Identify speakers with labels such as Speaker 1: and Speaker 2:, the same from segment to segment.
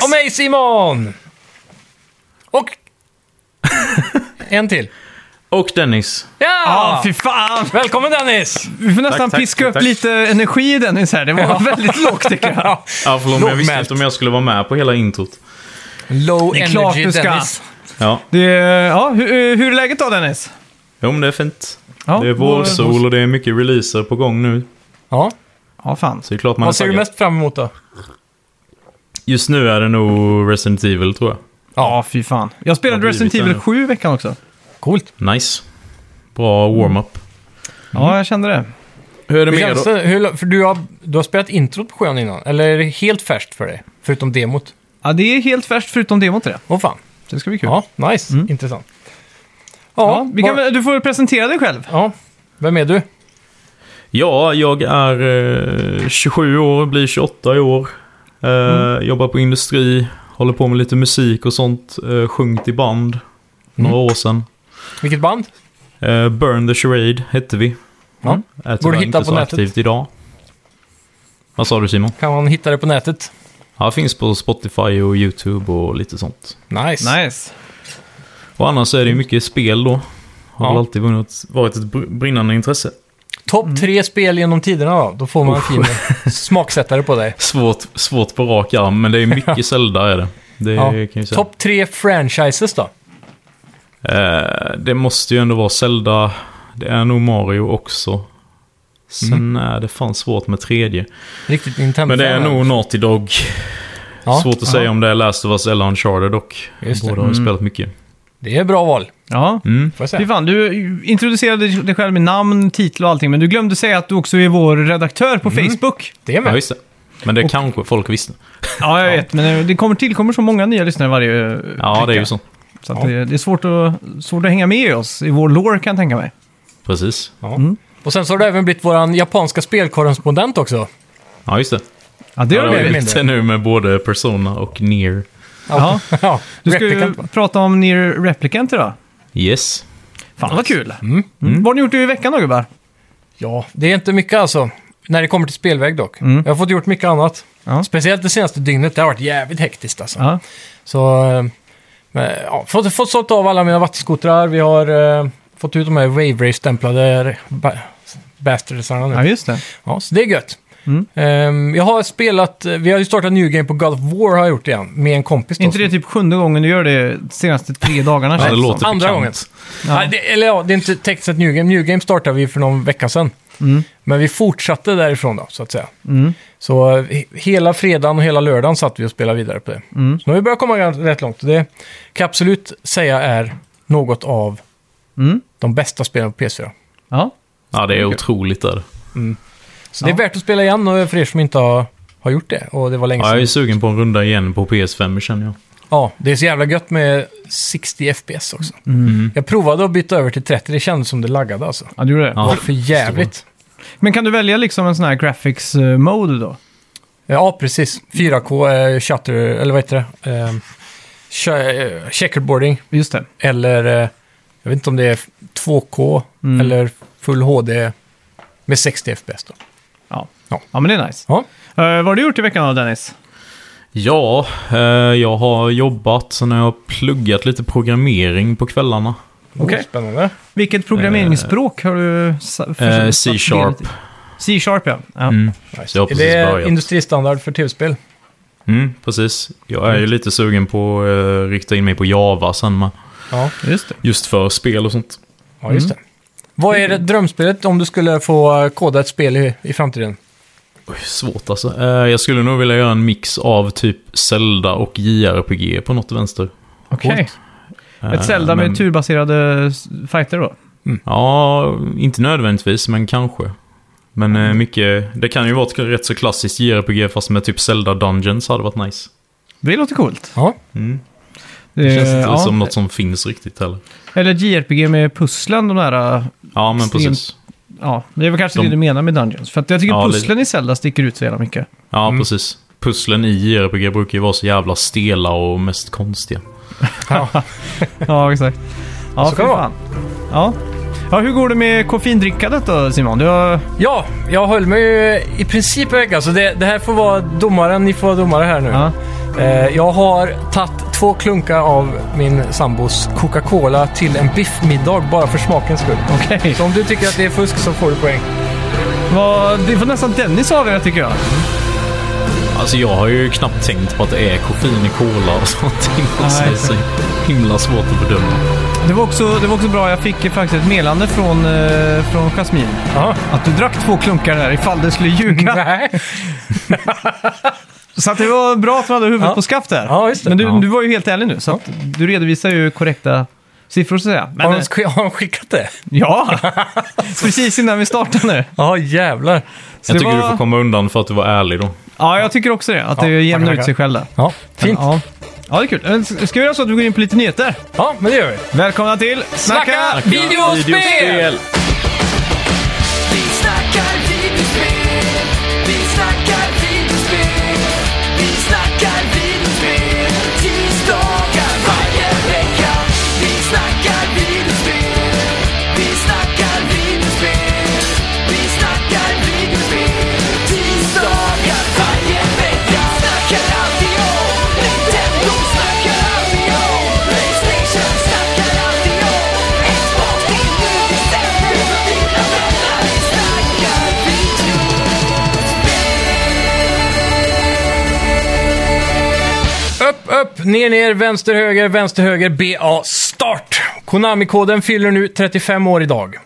Speaker 1: Och mig Simon! Och... en till.
Speaker 2: Och Dennis.
Speaker 1: Ja!
Speaker 3: Ja, fy fan!
Speaker 1: Välkommen Dennis!
Speaker 3: Vi får nästan
Speaker 2: tack,
Speaker 3: piska upp
Speaker 2: tack.
Speaker 3: lite energi i Dennis här. Det var väldigt lågt tycker jag.
Speaker 2: Ja, förlåt, men jag visste
Speaker 1: Lågmält.
Speaker 2: inte om jag skulle vara med på hela introt.
Speaker 1: Low
Speaker 3: Det är
Speaker 1: energy
Speaker 3: klart du ska.
Speaker 1: Dennis.
Speaker 2: Ja,
Speaker 3: Det är, ja, eh, hur, hur är läget då Dennis?
Speaker 2: jo, men det är fint.
Speaker 3: Ja,
Speaker 2: det är vårsol och det är mycket releaser på gång nu.
Speaker 1: Ja.
Speaker 3: Ja, fan.
Speaker 2: Så det är klart man
Speaker 1: Vad ser
Speaker 2: är
Speaker 1: du
Speaker 2: taggad.
Speaker 1: mest fram emot då?
Speaker 2: Just nu är det nog Resident Evil, tror jag.
Speaker 3: Ja, fy fan. Jag spelade
Speaker 2: Vad
Speaker 3: Resident
Speaker 2: blivit
Speaker 3: Evil
Speaker 2: där
Speaker 3: 7 i veckan också.
Speaker 1: Coolt.
Speaker 2: Nice. Bra warm-up. Mm.
Speaker 3: Ja, jag kände det.
Speaker 2: Hur är det
Speaker 1: Hur
Speaker 2: med er
Speaker 1: känns
Speaker 2: då?
Speaker 1: det? Hur, för du har, du har spelat introt på sjuan innan, eller är det helt färskt för dig? Förutom demot?
Speaker 3: Ja, det är helt färskt förutom demot till det.
Speaker 1: Åh fan.
Speaker 3: Det ska bli kul. Ja, Mm.
Speaker 1: Ja, nice. Intressant.
Speaker 3: vi kan,
Speaker 1: var-
Speaker 3: väl- du får presentera dig själv.
Speaker 1: ja, vem är du?
Speaker 2: Ja, jag är eh, 27 år, blir 28 i år. Eh, Jobbar på industri, håller på med lite musik och sånt. Eh, sjungt i band några år sedan.
Speaker 1: Vilket band?
Speaker 2: Eh, Burn the Charade hette vi.
Speaker 3: Mm.
Speaker 1: Ja.
Speaker 2: Är
Speaker 1: Går det
Speaker 2: tyvärr
Speaker 1: att hitta
Speaker 2: inte
Speaker 1: på
Speaker 2: så
Speaker 1: nätet?
Speaker 2: aktivt idag. Vad sa du Simon?
Speaker 1: Kan man hitta det på nätet?
Speaker 2: Ja, finns på Spotify och YouTube och lite sånt.
Speaker 1: Nice.
Speaker 3: Nice.
Speaker 2: Och annars är det ju mycket spel då. Har
Speaker 1: Ja.
Speaker 2: väl alltid vunnit, varit ett br- brinnande intresse.
Speaker 1: Topp
Speaker 3: Mm.
Speaker 1: tre spel genom tiderna då? Då får man en fin smaksättare på dig.
Speaker 2: Svårt, svårt på rak arm, men det är mycket Zelda är det. Det
Speaker 1: Ja.
Speaker 2: kan jag ju säga.
Speaker 1: Topp tre franchises då?
Speaker 2: Eh, det måste ju ändå vara Zelda. Det är nog Mario också. Sen
Speaker 1: Mm.
Speaker 2: är det fan svårt med tredje.
Speaker 1: Riktigt Nintendo.
Speaker 2: Men det är nog Naughty Dog.
Speaker 1: ja,
Speaker 2: svårt att säga om det är Last of Us eller Uncharted dock.
Speaker 1: Just det. Mm.
Speaker 2: Båda har ju spelat mycket.
Speaker 1: Det är bra val,
Speaker 3: Ja.
Speaker 2: Mm.
Speaker 1: får jag
Speaker 3: Fy
Speaker 1: säga.
Speaker 3: fan, du introducerade dig själv med namn, titel och allting, men du glömde säga att du också är vår redaktör på Facebook.
Speaker 1: Det är
Speaker 2: Ja,
Speaker 1: med.
Speaker 2: just det. Men det kanske folk visste.
Speaker 3: Ja, jag vet, men eh, det kommer tillkommer så många nya lyssnare varje eh,
Speaker 2: Ja, det är
Speaker 3: vecka.
Speaker 2: ju så.
Speaker 3: Så att det, det är svårt att, svårt att hänga med i oss i vår lore kan jag tänka mig.
Speaker 2: Precis.
Speaker 1: Ja. Och sen så har du även blivit vår japanska spelkorrespondent också.
Speaker 2: Ja, just det.
Speaker 3: Ja, det
Speaker 2: Ja,
Speaker 3: har
Speaker 2: det
Speaker 3: du
Speaker 2: har
Speaker 1: vi.
Speaker 3: blivit.
Speaker 2: blivit det nu med både Persona och Nier.
Speaker 3: Ja.
Speaker 1: ja.
Speaker 3: Du ska ju
Speaker 1: Replicant, va?
Speaker 3: prata om Near Replicant idag.
Speaker 2: Yes.
Speaker 3: Fan vad kul! Mm. Vad har ni gjort i veckan då gubbar?
Speaker 1: Ja, det är inte mycket alltså. När det kommer till spelväg dock.
Speaker 2: Mm.
Speaker 1: Jag har fått gjort mycket annat.
Speaker 3: Ja.
Speaker 1: Speciellt det senaste dygnet. Det har varit jävligt hektiskt alltså.
Speaker 3: Ja.
Speaker 1: Så... eh, Men, ja, fått, fått sålt av alla mina vattenskotrar. Vi har eh, fått ut de här Wave Race-stämplade eh, ba- bastardsarna nu.
Speaker 3: ja, just det.
Speaker 1: Ja, så det är gött.
Speaker 3: Mm.
Speaker 1: Ehm, jag har spelat... eh, Vi har ju startat New Game på God of War har jag gjort igen. Med en kompis då.
Speaker 3: inte det typ sjunde gången du gör det de senaste tre dagarna?
Speaker 2: Ja,
Speaker 3: känns
Speaker 2: det
Speaker 3: som.
Speaker 2: låter bekant.
Speaker 1: Andra gången.
Speaker 3: Ja.
Speaker 1: Nej, det, eller ja, det är inte tekniskt sett New Game. New Game startade vi för någon vecka sedan.
Speaker 3: Mm.
Speaker 1: Men vi fortsatte därifrån då, så att säga. Så eh, he- hela fredagen och hela lördagen satt vi och spelade vidare på det.
Speaker 3: Mm.
Speaker 1: Så nu har vi börjat komma gans- rätt långt. Det kan jag absolut säga är något av
Speaker 3: Mm.
Speaker 1: de bästa spelen på PS4.
Speaker 3: Ja.
Speaker 2: Ja, det är otroligt där.
Speaker 1: Så det är värt att spela igen och för er som inte har, har gjort det. Och det var länge
Speaker 2: Ja,
Speaker 1: sedan.
Speaker 2: jag är sugen på en runda igen på PS5 känner jag.
Speaker 1: Ja, det är så jävla gött med 60 FPS också.
Speaker 3: Mm.
Speaker 1: Jag provade att byta över till 30, det kändes som det laggade alltså.
Speaker 3: ja, du gjorde det.
Speaker 1: Det
Speaker 2: Ja.
Speaker 1: var för jävligt.
Speaker 3: Men kan du välja liksom en sån här graphics eh, mode då?
Speaker 1: Ja, precis. 4K, eh, shutter, eller vad heter det? Eh, che- eh, checkerboarding.
Speaker 3: Just det.
Speaker 1: Eller, eh, jag vet inte om det är 2K
Speaker 3: Mm.
Speaker 1: eller full HD med 60 FPS då.
Speaker 3: Ja.
Speaker 1: Ja.
Speaker 3: Ja, men det är nice.
Speaker 1: Ja.
Speaker 3: Eh, vad har du gjort i veckan då Dennis?
Speaker 2: Ja, eh, jag har jobbat, sen har jag pluggat lite programmering på kvällarna.
Speaker 3: Okej.
Speaker 1: Oh, spännande.
Speaker 2: Eh,
Speaker 3: Vilket programmeringsspråk har du... sa- försökt-
Speaker 2: C-sharp.
Speaker 3: C-sharp ja. ja.
Speaker 2: eh, Mm.
Speaker 1: Nice.
Speaker 2: Jag har
Speaker 1: Är
Speaker 2: precis
Speaker 1: det
Speaker 2: börjat.
Speaker 1: industristandard för tv-spel?
Speaker 2: Mm, precis. Jag är ju lite sugen på att eh, rikta in mig på Java sen med.
Speaker 1: Ja,
Speaker 3: Just det.
Speaker 2: Just för spel och sånt.
Speaker 1: ja just
Speaker 3: Mm.
Speaker 1: det. Vad är det, drömspelet om du skulle få eh, koda ett spel i, i framtiden?
Speaker 2: Oj, svårt alltså. Eh, jag skulle nog vilja göra en mix av typ Zelda och JRPG på något vänster.
Speaker 3: Okej.
Speaker 2: Eh,
Speaker 3: Ett Zelda med typ-
Speaker 2: men-
Speaker 3: turbaserade s- fighter då?
Speaker 2: Ja, inte nödvändigtvis, men kanske. Men
Speaker 3: Mm.
Speaker 2: eh, mycket, det kan ju vara ett rätt så klassiskt JRPG fast med typ Zelda Dungeons hade varit nice.
Speaker 3: Det låter coolt.
Speaker 1: Ja,
Speaker 2: Det
Speaker 3: Mm.
Speaker 2: känns
Speaker 3: Eh,
Speaker 2: inte
Speaker 3: ja.
Speaker 2: som något som finns riktigt heller.
Speaker 3: Eller ett JRPG med pusslen, de där... eh,
Speaker 2: Ja, men
Speaker 3: Extremt.
Speaker 2: precis.
Speaker 3: Ja, det är väl kanske
Speaker 2: De-
Speaker 3: det du menar med Dungeons. För att jag tycker
Speaker 2: Ja,
Speaker 3: pusslen i Zelda sticker ut så jävla mycket.
Speaker 2: Ja, precis. Pusslen i JRPG brukar ju vara så jävla stela och mest konstiga.
Speaker 3: Ja, exakt. Ja,
Speaker 1: Så kan
Speaker 3: fy
Speaker 1: det vara.
Speaker 3: fan. Ja. ja, hur går det med koffeindrickandet då Simon? Du har...
Speaker 1: ja jag höll mig ju i princip i veckan, så det, det här får vara domaren, ni får vara domare här nu.
Speaker 3: Ja.
Speaker 1: Eh, jag har tagit två klunkar av min sambos Coca-Cola till en biffmiddag bara för smakens skull.
Speaker 3: Okej.
Speaker 1: Så om du tycker att det är fusk så får du poäng.
Speaker 3: Vad- Det får nästan Dennis avgöra tycker jag.
Speaker 2: Alltså jag har ju knappt tänkt på att det är koffein i cola och sånt. Så det är så himla svårt att bedöma.
Speaker 3: Det var också, det var också bra, jag fick faktiskt ett meddelande från, eh, från Jasmin.
Speaker 1: Ja.
Speaker 3: Att du drack två klunkar här ifall du skulle ljuga.
Speaker 1: Nej.
Speaker 3: så att det var bra att du hade huvudet
Speaker 1: Ja.
Speaker 3: på skaft där.
Speaker 1: Ja, just det.
Speaker 3: Men du,
Speaker 2: Ja.
Speaker 3: du var ju helt ärlig nu, så att du redovisar ju korrekta siffror så att säga. Men,
Speaker 1: Har, de,
Speaker 3: eh,
Speaker 1: sk- har de skickat det?
Speaker 3: ja, precis innan vi startar nu.
Speaker 1: Ja, jävlar.
Speaker 3: Så
Speaker 2: Jag
Speaker 3: det
Speaker 2: tycker
Speaker 3: var...
Speaker 2: du får komma undan för att du var ärlig då.
Speaker 3: Ja, jag tycker också det. Att
Speaker 1: Ja,
Speaker 3: det jämnar
Speaker 1: tackar,
Speaker 3: ut sig själv där.
Speaker 1: Ja, fint.
Speaker 3: Ja. ja, det är kul. Eh, s- Ska vi göra så att vi går in på lite nyheter?
Speaker 1: Ja, men det gör vi.
Speaker 3: Välkomna till Snacka!
Speaker 1: Snacka! Videospel!
Speaker 4: Vi snackar videospel, vi snackar videospel, vi snackar videospel, tisdagar varje vecka. Vi snackar videospel, vi snackar videospel, vi snackar videospel, tisdagar varje vecka. Snackar alltid om Nintendo, snackar alltid om Playstation, snackar alltid om Xbox, det är nu vi sätter dina vänner. Vi snackar video.
Speaker 1: Upp, upp, ner, ner, vänster, höger, vänster, höger, BA, start! Konami-koden fyller nu 35 år idag.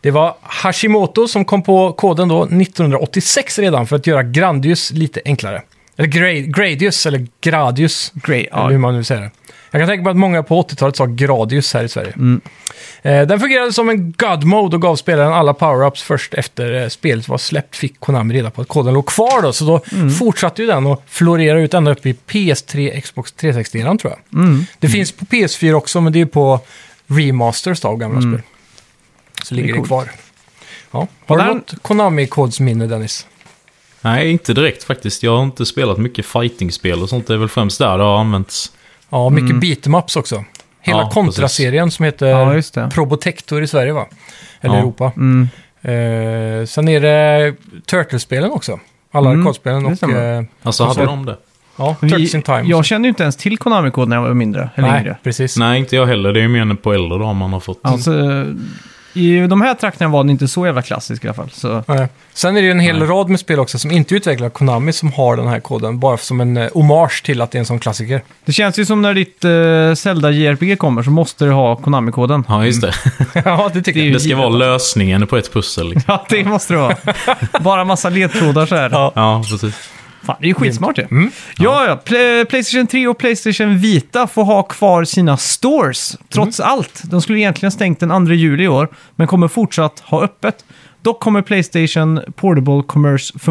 Speaker 1: Det var Hashimoto som kom på koden då 1986 redan för att göra Grandius lite enklare. Eller gra- Gradius, eller Gradius,
Speaker 3: Grey,
Speaker 1: eller hur
Speaker 3: ja.
Speaker 1: man nu säger det. Jag kan tänka mig att många på 80-talet sa Gradius här i Sverige. Eh, Den fungerade som en God Mode och gav spelaren alla power-ups först efter eh, spelet var släppt fick Konami reda på att koden låg kvar då. Så då fortsatte ju den att florera ut ända upp i PS3, Xbox 360 eran tror jag. Det finns på PS4 också, men det är ju på remasters då, av gamla spel. Så ligger det,
Speaker 3: coolt.
Speaker 1: kvar. Ja. Har
Speaker 3: Där-
Speaker 1: du något Konami-kodsminne Dennis?
Speaker 2: Nej, inte direkt faktiskt. Jag har inte spelat mycket fighting-spel och sånt. Det är väl främst där det har använts.
Speaker 1: Ja, mycket beatmaps också. Hela
Speaker 2: Ja,
Speaker 1: kontraserien som heter
Speaker 3: Mm. Ja, just det.
Speaker 1: Probotector i Sverige va? Eller
Speaker 2: Ja.
Speaker 1: Europa.
Speaker 3: Mm.
Speaker 1: Eh, sen är det Turtlespelen också. Alla
Speaker 3: Mm,
Speaker 1: arkadspelen
Speaker 3: det
Speaker 1: och...
Speaker 3: stämmer.
Speaker 1: eh,
Speaker 2: Alltså
Speaker 1: Och så-
Speaker 2: hade de det?
Speaker 1: ja, Turtles
Speaker 3: Vi,
Speaker 1: in Time.
Speaker 3: jag kände ju inte ens till Konami-koden när jag var mindre. Eller
Speaker 1: Nej,
Speaker 3: yngre.
Speaker 1: precis.
Speaker 2: Nej, inte jag heller. Det är ju mer på äldre dagar man har fått.
Speaker 3: Alltså, I de här trakterna var den inte så jävla klassisk i alla fall. Så,
Speaker 1: Nej. Sen är det ju en hel
Speaker 2: Nej.
Speaker 1: rad med spel också som inte utvecklar Konami som har den här koden. Bara som en eh, hommage till att det är en sån klassiker.
Speaker 3: det känns ju som när ditt eh, Zelda JRPG kommer så måste du ha Konami-koden.
Speaker 2: Ja, just det.
Speaker 1: Mm. ja, det
Speaker 3: Det är
Speaker 1: tycker jag.
Speaker 3: ju
Speaker 2: Det ska
Speaker 3: givet.
Speaker 2: vara lösningen på ett pussel. Liksom.
Speaker 3: Ja, det måste det vara. Bara massa ledtrådar så här.
Speaker 1: Ja.
Speaker 2: Ja, Mm. precis.
Speaker 3: Fan, det är ju skitsmart ju. Ja, ja. Pl- Playstation 3 och Playstation Vita får ha kvar sina stores, trots
Speaker 2: Mm.
Speaker 3: allt. De skulle egentligen stängt den 2 juli i år, men kommer fortsatt ha öppet. Dock kommer Playstation Portable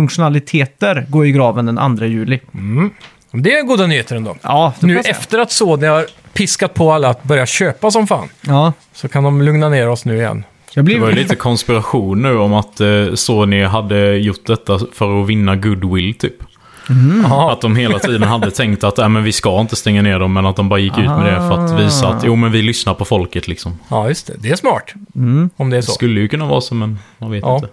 Speaker 3: Commerce-funktionaliteter gå i graven den 2 juli.
Speaker 2: Mm.
Speaker 1: Det är goda nyheter ändå.
Speaker 3: Ja, det får
Speaker 1: Nu
Speaker 3: jag säga.
Speaker 1: efter att Sony har piskat på alla att börja köpa som fan
Speaker 3: Ja,
Speaker 1: så kan de lugna ner oss nu igen.
Speaker 3: jag
Speaker 2: Det var ju
Speaker 3: blir...
Speaker 2: lite konspiration nu om att eh, Sony hade gjort detta för att vinna goodwill, typ.
Speaker 1: Mm. Ja,
Speaker 2: Att de hela tiden hade tänkt att äh, men vi ska inte stänga ner dem, men att de bara gick ut med det för att visa att jo, men vi lyssnar på folket liksom.
Speaker 1: ja, just det. Det är smart.
Speaker 3: Mm.
Speaker 1: Om det är
Speaker 2: Det
Speaker 1: så.
Speaker 2: skulle ju kunna vara så, men man vet
Speaker 1: Ja.
Speaker 2: inte.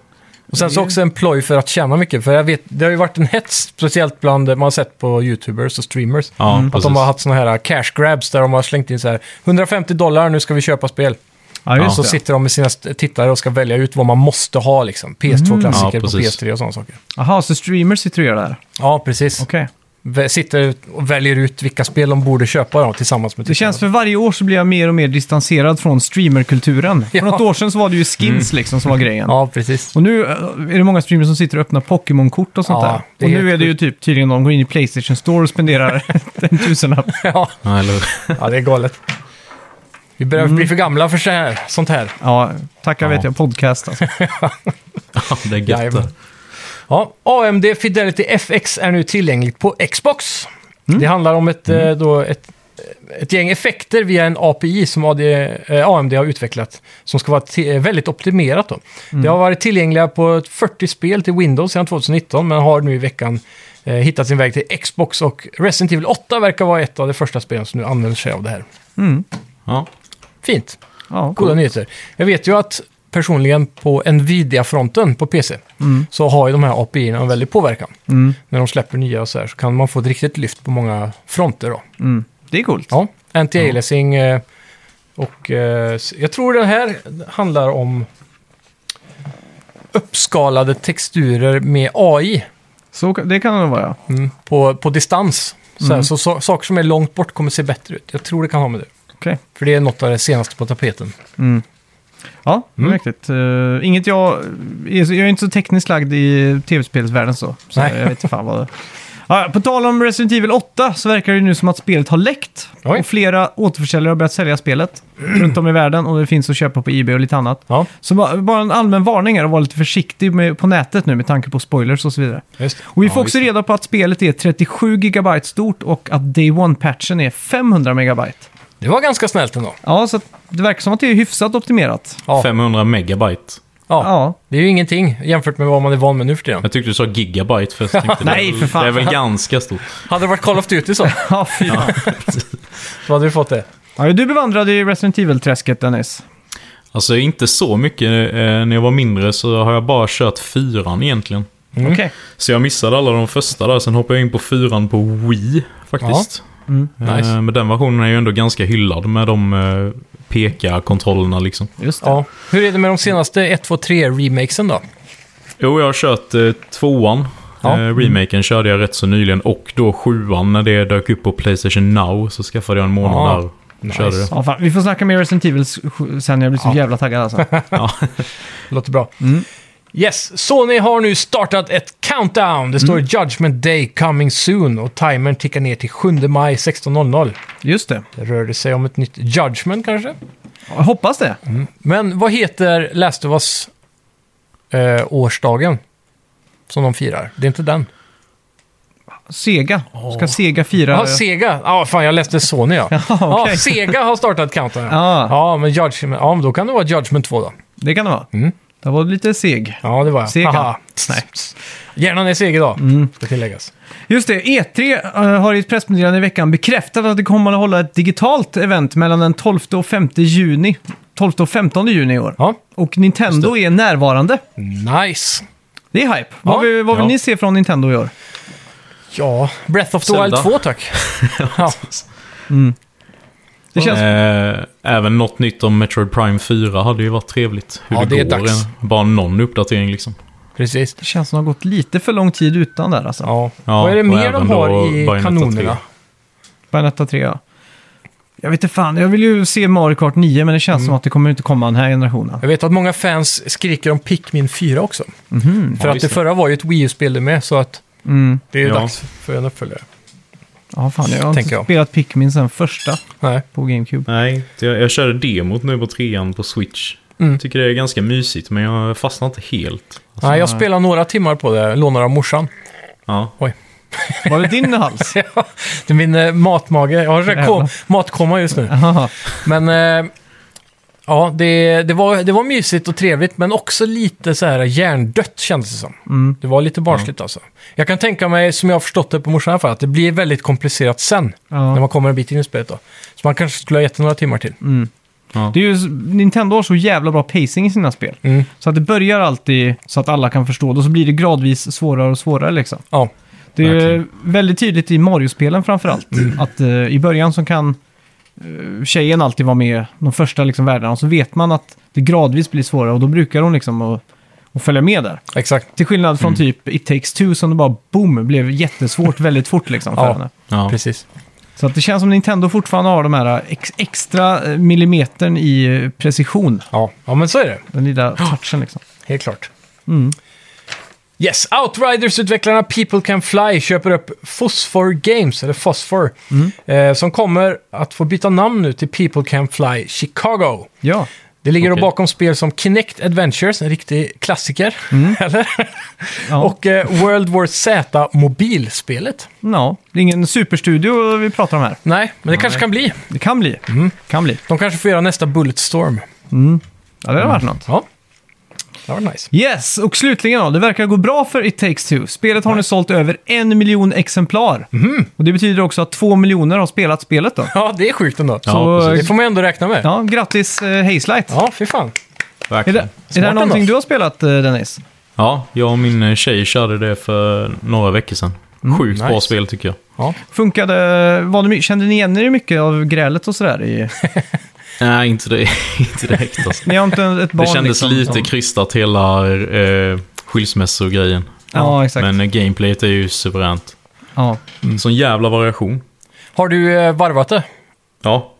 Speaker 1: Och sen så också en ploj för att tjäna mycket. För jag vet, det har ju varit en hets, speciellt bland, man har sett på YouTubers och streamers.
Speaker 2: Ja,
Speaker 1: Att
Speaker 2: precis.
Speaker 1: de har haft såna här uh, cash grabs där de har slängt in så här 150 dollar, nu ska vi köpa spel.
Speaker 3: Ja,
Speaker 1: Och
Speaker 3: just
Speaker 1: så
Speaker 3: det.
Speaker 1: sitter de med sina st- tittare och ska välja ut vad man måste ha liksom.
Speaker 3: Mm.
Speaker 1: PS2-klassiker
Speaker 2: Ja,
Speaker 1: på
Speaker 2: precis.
Speaker 1: PS3 och sådana saker.
Speaker 3: Jaha, så streamers sitter och gör det här?
Speaker 1: Ja, precis.
Speaker 3: Okej.
Speaker 1: Vä- Sitter och väljer ut vilka spel de borde köpa då, tillsammans med
Speaker 3: Det
Speaker 1: tittarna.
Speaker 3: känns för varje år så blir jag mer och mer distanserad från streamerkulturen. För
Speaker 1: Ja. Mm.
Speaker 3: något år sedan så var det ju skins liksom som var grejen.
Speaker 1: Ja, precis.
Speaker 3: Och nu eh, är det många streamers som sitter och öppnar Pokémon-kort och sånt
Speaker 1: Ja, det
Speaker 3: där. Och
Speaker 1: är
Speaker 3: nu är det ju
Speaker 1: sjukt.
Speaker 3: typ tydligen de går in i Playstation Store och spenderar en tusenlapp.
Speaker 1: Ja,
Speaker 2: Ja, eller hur?
Speaker 1: ja det är galet. Vi börjar
Speaker 3: Mm.
Speaker 1: bli för gamla för så här, sånt här.
Speaker 3: Ja, tackar
Speaker 2: Ja.
Speaker 3: vet jag, podcast alltså.
Speaker 2: Ja, det är gött
Speaker 1: Jajamän.
Speaker 2: det.
Speaker 1: Ja, AMD Fidelity FX är nu tillgängligt på Xbox. Det handlar om ett, eh, då, ett, eh, ett gäng effekter via en API som AD, eh, AMD har utvecklat. Som ska vara ti- eh, väldigt optimerat. Då. Det har varit tillgängliga på ett 40 spel till Windows sedan 2019 men har nu i veckan eh, hittat sin väg till Xbox och Resident Evil 8 verkar vara ett av de första spelen som nu använder sig av det här.
Speaker 2: Ja.
Speaker 1: Fint,
Speaker 3: Ja,
Speaker 1: goda nyheter. Jag vet ju att personligen på Nvidia-fronten på PC så har ju de här API-erna en väldig påverkan.
Speaker 3: Mm,
Speaker 1: När de släpper nya och så här så kan man få ett riktigt lyft på många fronter då.
Speaker 3: Mm. Det är coolt.
Speaker 1: Ja, anti-aliasing eh, och eh, s- jag tror den här handlar om uppskalade texturer med AI
Speaker 3: Så, det kan det nog vara.
Speaker 1: mm, på, på distans. Så, här, så, sa- saker som är långt bort kommer se bättre ut. Jag tror det kan ha med det.
Speaker 3: Okej.
Speaker 1: För det är något av det senaste på tapeten.
Speaker 3: Ja, det är mäktigt. Eh, inget jag... Jag är inte så tekniskt lagd i tv-spelsvärlden så. så
Speaker 1: Nej.
Speaker 3: Jag vet inte fan vad det Ja, på tal om Resident Evil 8 så verkar det nu som att spelet har läckt.
Speaker 1: Oj.
Speaker 3: Och flera återförsäljare har börjat sälja spelet runt om i världen och det finns att köpa på Ebay och lite annat.
Speaker 1: Ja,
Speaker 3: Så ba- bara en allmän varning är att vara lite försiktig med, på nätet nu med tanke på spoilers och så vidare.
Speaker 1: just det.
Speaker 3: Och vi
Speaker 2: Ja,
Speaker 3: får också
Speaker 2: just
Speaker 3: reda på att spelet är 37 GB stort och att Day One-patchen är 500 MB.
Speaker 1: Det var ganska snällt ändå.
Speaker 3: Ja, så att det verkar som att det är hyfsat optimerat.
Speaker 1: Ja.
Speaker 2: 500 megabyte.
Speaker 1: Ja.
Speaker 3: Ja,
Speaker 1: Det är ju ingenting jämfört med vad man är van med nu för tiden.
Speaker 2: Jag tyckte du sa gigabyte först. Jag tänkte,
Speaker 3: Nej,
Speaker 2: det är väl-
Speaker 3: för fan.
Speaker 2: Det är väl ganska stort.
Speaker 1: Hade det varit Call of Duty så,
Speaker 3: ja fy fan.
Speaker 1: så hade vi fått det.
Speaker 3: Ja, du bevandrade ju Resident Evil-träsket Dennis.
Speaker 2: Alltså inte så mycket. Eh, när jag var mindre så har jag bara kört fyran egentligen.
Speaker 1: Mm.
Speaker 3: Okej.
Speaker 2: Så jag missade alla de första där. Sen hoppade jag in på fyran på Wii faktiskt.
Speaker 3: Mm,
Speaker 2: Eh,
Speaker 1: nice.
Speaker 2: Men den versionen är ju ändå ganska hyllad med de eh, peka-kontrollerna liksom.
Speaker 3: Just det.
Speaker 1: Ja. Hur är det med de senaste 1, 2, 3-remakesen då?
Speaker 2: Jo, jag har kört eh, tvåan.
Speaker 1: Ja.
Speaker 2: Eh, remaken körde jag rätt så nyligen. Och då sjuan när det dök upp på Playstation Now så skaffade jag en månad
Speaker 1: Ah,
Speaker 2: där. och Körde det.
Speaker 3: Ja, fan. Vi får snacka mer Resident Evil s- sju- sen, jag blir så jävla taggad alltså.
Speaker 1: Låter bra. Yes, Sony har nu startat ett countdown. Det står Judgment Day coming soon och timern tickar ner till 7 maj 16.00.
Speaker 3: Just det.
Speaker 1: Det rörde sig om ett nytt Judgment kanske.
Speaker 3: Jag hoppas det.
Speaker 1: Men vad heter Last of Us eh, årsdagen som de firar? Det är inte den.
Speaker 3: Sega. Ska Sega fira...
Speaker 1: Ja, Sega. Ja, fan jag läste Sony ja.
Speaker 3: Ja, okej.
Speaker 1: Ja, Sega har startat countdown.
Speaker 3: Ja.
Speaker 1: ja men Judgment, ja, men då kan det vara Judgment 2 då.
Speaker 3: Det kan det vara.
Speaker 1: Mm.
Speaker 3: Det var lite seg.
Speaker 1: Ja, det var jag.
Speaker 3: Sega.
Speaker 1: Haha.
Speaker 3: Nej.
Speaker 1: Hjärnan är seg idag, ska tilläggas.
Speaker 3: Just det, E3 eh, har i ett pressmeddelande i veckan bekräftat att det kommer att hålla ett digitalt event mellan den 12 och 5 juni. 12 och 15 juni i år.
Speaker 1: Ja,
Speaker 3: Och Nintendo är närvarande.
Speaker 1: nice.
Speaker 3: Det är hype. Vad,
Speaker 1: Ja.
Speaker 3: vill, vad vill
Speaker 2: Ja.
Speaker 3: ni se från Nintendo i år?
Speaker 1: Ja, Breath of the
Speaker 2: Zelda.
Speaker 1: Wild 2 tack. ja.
Speaker 3: Det känns...
Speaker 2: Eh, även något nytt om Metroid Prime 4 hade ju varit trevligt. Hur
Speaker 1: Ja, det
Speaker 2: det,
Speaker 1: är
Speaker 2: går.
Speaker 1: dags.
Speaker 2: Bara någon uppdatering liksom.
Speaker 1: Precis.
Speaker 3: Det känns som att det har gått lite för lång tid utan där alltså.
Speaker 1: Ja.
Speaker 2: Ja,
Speaker 1: Vad är det
Speaker 2: och
Speaker 1: mer de
Speaker 2: även
Speaker 1: har
Speaker 2: då
Speaker 1: i
Speaker 2: Bayonetta
Speaker 1: kanonerna?
Speaker 2: 3.
Speaker 3: Bayonetta 3 ja. Jag vet inte fan, jag vill ju se Mario Kart 9 men det
Speaker 1: Mm.
Speaker 3: känns som att det kommer inte komma den här generationen.
Speaker 1: Jag vet att många fans skriker om Pikmin 4 också. För
Speaker 2: Mhm. Ja,
Speaker 1: att det
Speaker 2: visst det.
Speaker 1: förra var ju ett Wii U-spel det med, så att
Speaker 3: Mm.
Speaker 1: det är ju
Speaker 2: Ja.
Speaker 1: dags för en uppföljare.
Speaker 3: Ja fan, jag har
Speaker 1: Tänker
Speaker 3: inte
Speaker 1: jag.
Speaker 3: spelat Pikmin sen första
Speaker 1: Nej.
Speaker 3: på GameCube.
Speaker 2: Nej, det- jag, jag körde demot nu på trean på Switch.
Speaker 1: Mm.
Speaker 2: Tycker det är ganska mysigt, men jag fastnar inte helt.
Speaker 1: Nej, jag spelar några timmar på det, lånar av morsan.
Speaker 2: Ja.
Speaker 3: Var det din hals?
Speaker 1: det är min eh, matmage, jag har så här kom,
Speaker 3: Jävlar.
Speaker 1: matkomma just nu.
Speaker 3: Jaha.
Speaker 1: Men eh, ja, det, det, var, det var mysigt och trevligt, men också lite så här hjärndött kändes det som.
Speaker 3: Mm.
Speaker 1: Det var lite barnsligt alltså. Jag kan tänka mig, som jag har förstått det på morsan i alla fall, att det blir väldigt komplicerat sen.
Speaker 3: Ja. Mm.
Speaker 1: När man kommer en bit in i spelet då. Så man kanske skulle ha gett det några timmar till.
Speaker 3: Det är ju, Nintendo har så jävla bra pacing i sina spel.
Speaker 1: Mm.
Speaker 3: Så att det börjar alltid så att alla kan förstå det och så blir det gradvis svårare och svårare liksom.
Speaker 1: Ja,
Speaker 3: Det är
Speaker 2: Verkligen.
Speaker 3: väldigt tydligt i Mario-spelen framförallt.
Speaker 1: Mm.
Speaker 3: Att eh, i början så kan eh, tjejen alltid vara med de första liksom, världarna. Och så vet man att det gradvis blir svårare och då brukar hon liksom att, att följa med där.
Speaker 1: exakt.
Speaker 3: Till skillnad
Speaker 1: Mm.
Speaker 3: från typ It takes two som det bara boom blev jättesvårt väldigt fort liksom för
Speaker 1: Ja.
Speaker 3: henne.
Speaker 2: Ja.
Speaker 1: Precis.
Speaker 3: Så att det känns som Nintendo fortfarande har de här eh, ex extra eh, millimetern i eh, precision.
Speaker 1: Ja. ja, men så är det.
Speaker 3: Den lilla touchen liksom.
Speaker 1: Helt klart.
Speaker 3: Mm.
Speaker 1: Yes, Outriders-utvecklarna People Can Fly köper upp Phosphor Games, eller Phosphor,
Speaker 3: Mm.
Speaker 1: eh, som kommer att få byta namn nu till People Can Fly Chicago.
Speaker 3: Ja,
Speaker 1: Det ligger då
Speaker 2: Okej.
Speaker 1: bakom spel som Kinect Adventures, en riktig klassiker, eller?
Speaker 3: ja.
Speaker 1: Och eh, World War Z mobilspelet.
Speaker 3: ja. Det är ingen superstudio vi pratar om här.
Speaker 1: Nej, men det kanske kan bli.
Speaker 3: Det kan bli.
Speaker 1: Mm.
Speaker 3: Kan bli.
Speaker 1: De kanske får göra nästa Bulletstorm.
Speaker 3: Ja, det har varit något.
Speaker 1: Ja, det var nice.
Speaker 3: Yes, och slutligen då. Det verkar gå bra för It takes two. Spelet har nu sålt över en miljon exemplar. Och det betyder också att två miljoner har spelat spelet då.
Speaker 1: Ja, det är sjukt ändå.
Speaker 2: Ja,
Speaker 1: Så,
Speaker 2: precis.
Speaker 1: det får man ju ändå räkna med.
Speaker 3: Ja, grattis eh, Hazelight.
Speaker 1: Ja, fy fan.
Speaker 3: Är
Speaker 2: verkligen.
Speaker 3: det, är det här
Speaker 1: ändå.
Speaker 3: någonting du har spelat eh, Dennis?
Speaker 2: Ja, jag och min eh, tjej körde det för några veckor sedan.
Speaker 3: Mm,
Speaker 2: Sjukt bra
Speaker 1: nice.
Speaker 2: spel tycker jag.
Speaker 1: Ja.
Speaker 3: Funkade, var det, my- kände ni igen er i mycket av grälet och sådär? I,
Speaker 2: Nej, inte, det, inte direkt alltså.
Speaker 3: ni har inte ett barn
Speaker 2: Det kändes
Speaker 3: liksom,
Speaker 2: lite
Speaker 3: som-
Speaker 2: krystat hela eh, skilsmässogrejen.
Speaker 3: Ja, exakt. Mm.
Speaker 2: Men eh, gameplayet är ju suveränt.
Speaker 3: Ja.
Speaker 2: Sån jävla variation.
Speaker 1: Har du eh, varvat det?
Speaker 2: Ja,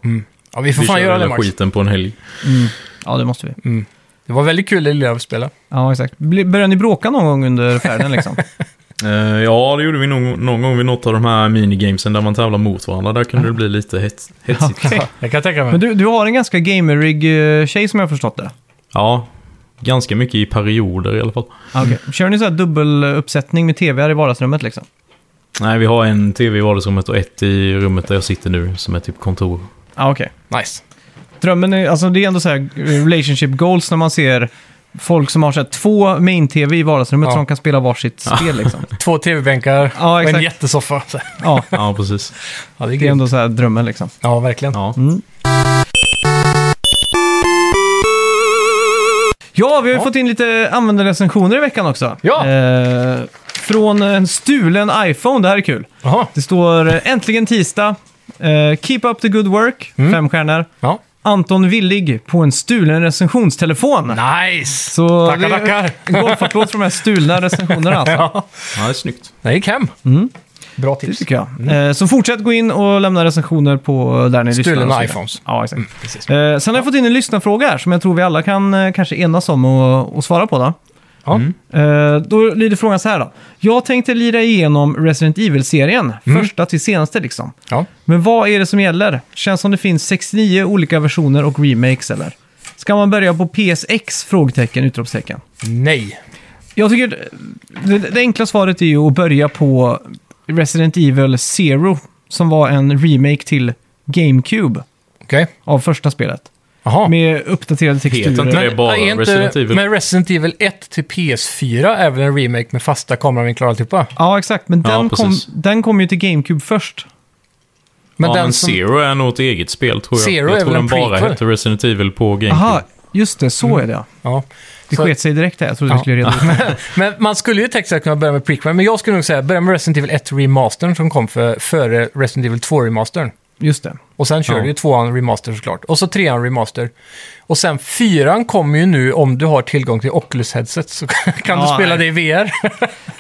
Speaker 1: Ja, vi får
Speaker 2: vi
Speaker 1: fan
Speaker 2: körde
Speaker 1: göra det
Speaker 2: hela
Speaker 1: Max.
Speaker 2: skiten på en helg.
Speaker 3: mm. ja, det måste vi.
Speaker 1: Det var väldigt kul i Lövspela.
Speaker 3: Ja, exakt. Bli- Började ni bråka någon gång under färden liksom?
Speaker 2: Eh, ja, det gjorde vi någon, någon gång vid något av de här minigamesen där man tävlar mot varandra. Där kunde det bli lite hets, hetsigt.
Speaker 1: Jag kan tänka mig.
Speaker 3: Men du, du har en ganska gamerig eh, tjej som jag har förstått det.
Speaker 2: Ja, ganska mycket i perioder i alla fall.
Speaker 3: Mm. Kör ni så här dubbeluppsättning med tv här i vardagsrummet liksom?
Speaker 2: Nej, vi har en tv i vardagsrummet och ett i rummet där jag sitter nu som är typ kontor.
Speaker 3: Ja, okej.
Speaker 1: Nice.
Speaker 3: Drömmen är, alltså det är ändå så här relationship goals när man ser folk som har så här två main-tv i vardagsrummet
Speaker 1: Ja.
Speaker 3: som kan spela varsitt spel liksom.
Speaker 1: Två tv-bänkar
Speaker 3: Ja,
Speaker 1: och en
Speaker 3: exakt.
Speaker 1: jättesoffa. Så-
Speaker 3: Ja,
Speaker 2: Ja, precis.
Speaker 1: Ja, det är
Speaker 3: det är
Speaker 1: grymt.
Speaker 3: ändå så här drömmen liksom. Mm.
Speaker 1: Ja, verkligen.
Speaker 2: Ja.
Speaker 3: Ja, vi har ju fått in lite användarrecensioner i veckan också.
Speaker 1: Ja.
Speaker 3: Eh, från en stulen iPhone, det här är kul.
Speaker 1: Jaha.
Speaker 3: Det står eh, äntligen tisdag, eh, keep up the good work,
Speaker 1: Mm.
Speaker 3: fem stjärnor.
Speaker 1: Ja.
Speaker 3: Anton Willig på en stulen recensionstelefon.
Speaker 1: Nice!
Speaker 3: Så
Speaker 1: tackar,
Speaker 3: det är
Speaker 1: tackar.
Speaker 3: en golfapplåd för de här stulna recensionerna alltså.
Speaker 1: Ja,
Speaker 2: ja, det är snyggt.
Speaker 1: det gick hem. Bra
Speaker 3: Det
Speaker 1: tips.
Speaker 3: Mm. tycker jag. Eh, Så fortsätt gå in och lämna recensioner på eh, där ni lyssnar.
Speaker 1: Stulna
Speaker 3: och så vidare.
Speaker 1: iPhones.
Speaker 3: Ja,
Speaker 1: Mm.
Speaker 3: exakt. Eh, Sen har jag fått in en lyssnarfråga här som jag tror vi alla kan eh, kanske enas om och, och svara på. Då.
Speaker 1: Ja.
Speaker 3: Eh, då lyder frågan så här då. Jag tänkte lira igenom Resident Evil-serien,
Speaker 1: Mm.
Speaker 3: första till senaste liksom.
Speaker 1: Ja.
Speaker 3: Men vad är det som gäller? Känns som det finns 69 olika versioner och remakes eller? Ska man börja på PSX? Frågetecken, utropstecken.
Speaker 1: Nej.
Speaker 3: Jag tycker det, det enkla svaret är ju att börja på Resident Evil Zero, som var en remake till GameCube
Speaker 1: Okej.
Speaker 3: av första spelet.
Speaker 1: Jaha.
Speaker 3: Med uppdaterade texturer.
Speaker 2: inte det är bara
Speaker 1: är inte,
Speaker 2: Resident Evil.
Speaker 1: Men Resident Evil 1 till PS4 är väl en remake med fasta kameravinklar och alltihopa?
Speaker 3: Ja, exakt. Men
Speaker 2: Ja,
Speaker 3: den, kom,
Speaker 2: precis.
Speaker 3: den kom ju till GameCube först.
Speaker 1: Men
Speaker 2: ja,
Speaker 1: den
Speaker 2: men
Speaker 1: som...
Speaker 2: Zero är nog ett eget spel tror jag.
Speaker 1: Zero
Speaker 2: jag
Speaker 1: är
Speaker 2: tror
Speaker 1: väl en
Speaker 2: den bara
Speaker 1: prequel?
Speaker 2: hette Resident Evil på GameCube.
Speaker 3: Aha, just det. Så är det ja.
Speaker 1: Ja.
Speaker 3: Det
Speaker 1: Mm. Så-
Speaker 3: sket sig direkt där. Jag trodde
Speaker 1: Ja.
Speaker 3: vi skulle reda ut
Speaker 1: Men man skulle ju tekniskt sett kunna börja med prequel, men jag skulle nog säga börja med Resident Evil 1 remastern som kom för, före Resident Evil 2 remastern.
Speaker 3: Just det.
Speaker 1: Och sen kör
Speaker 2: Ja.
Speaker 1: du ju tvåan remaster såklart. Och så trean remaster. Och sen fyran kommer ju nu om du har tillgång till Oculus headset så kan
Speaker 3: Ja,
Speaker 1: du spela
Speaker 3: nej.
Speaker 1: det i VR.